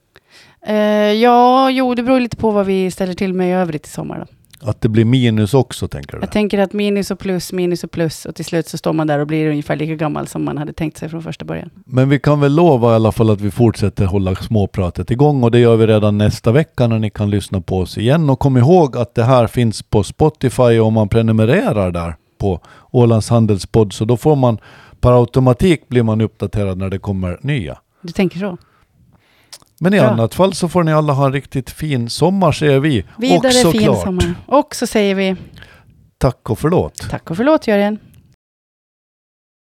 Speaker 1: Eh, ja, jo, det beror lite på vad vi ställer till med i övrigt i sommar. Då.
Speaker 2: Att det blir minus också tänker du?
Speaker 1: Jag tänker att minus och plus, minus och plus och till slut så står man där och blir ungefär lika gammal som man hade tänkt sig från första början.
Speaker 2: Men vi kan väl lova i alla fall att vi fortsätter hålla småpratet igång och det gör vi redan nästa vecka när ni kan lyssna på oss igen. Och kom ihåg att det här finns på Spotify om man prenumererar där på Ålands Handelspodd så då får man per automatik blir man uppdaterad när det kommer nya.
Speaker 1: Du tänker så?
Speaker 2: Men i
Speaker 1: Bra.
Speaker 2: annat fall så får ni alla ha en riktigt fin sommar säger vi.
Speaker 1: Vidare
Speaker 2: och
Speaker 1: fin
Speaker 2: såklart,
Speaker 1: sommar. Och så säger vi
Speaker 2: tack och förlåt.
Speaker 1: tack och förlåt Jörgen.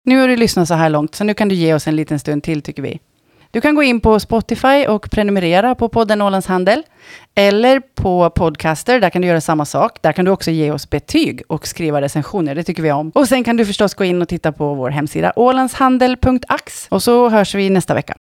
Speaker 1: Nu har du lyssnat så här långt, så nu kan du ge oss en liten stund till tycker vi. Du kan gå in på Spotify och prenumerera på podden Ålands Handel. Eller på Podcaster, där kan du göra samma sak. Där kan du också ge oss betyg och skriva recensioner, det tycker vi om. Och sen kan du förstås gå in och titta på vår hemsida ålandshandel.ax. Och så hörs vi nästa vecka.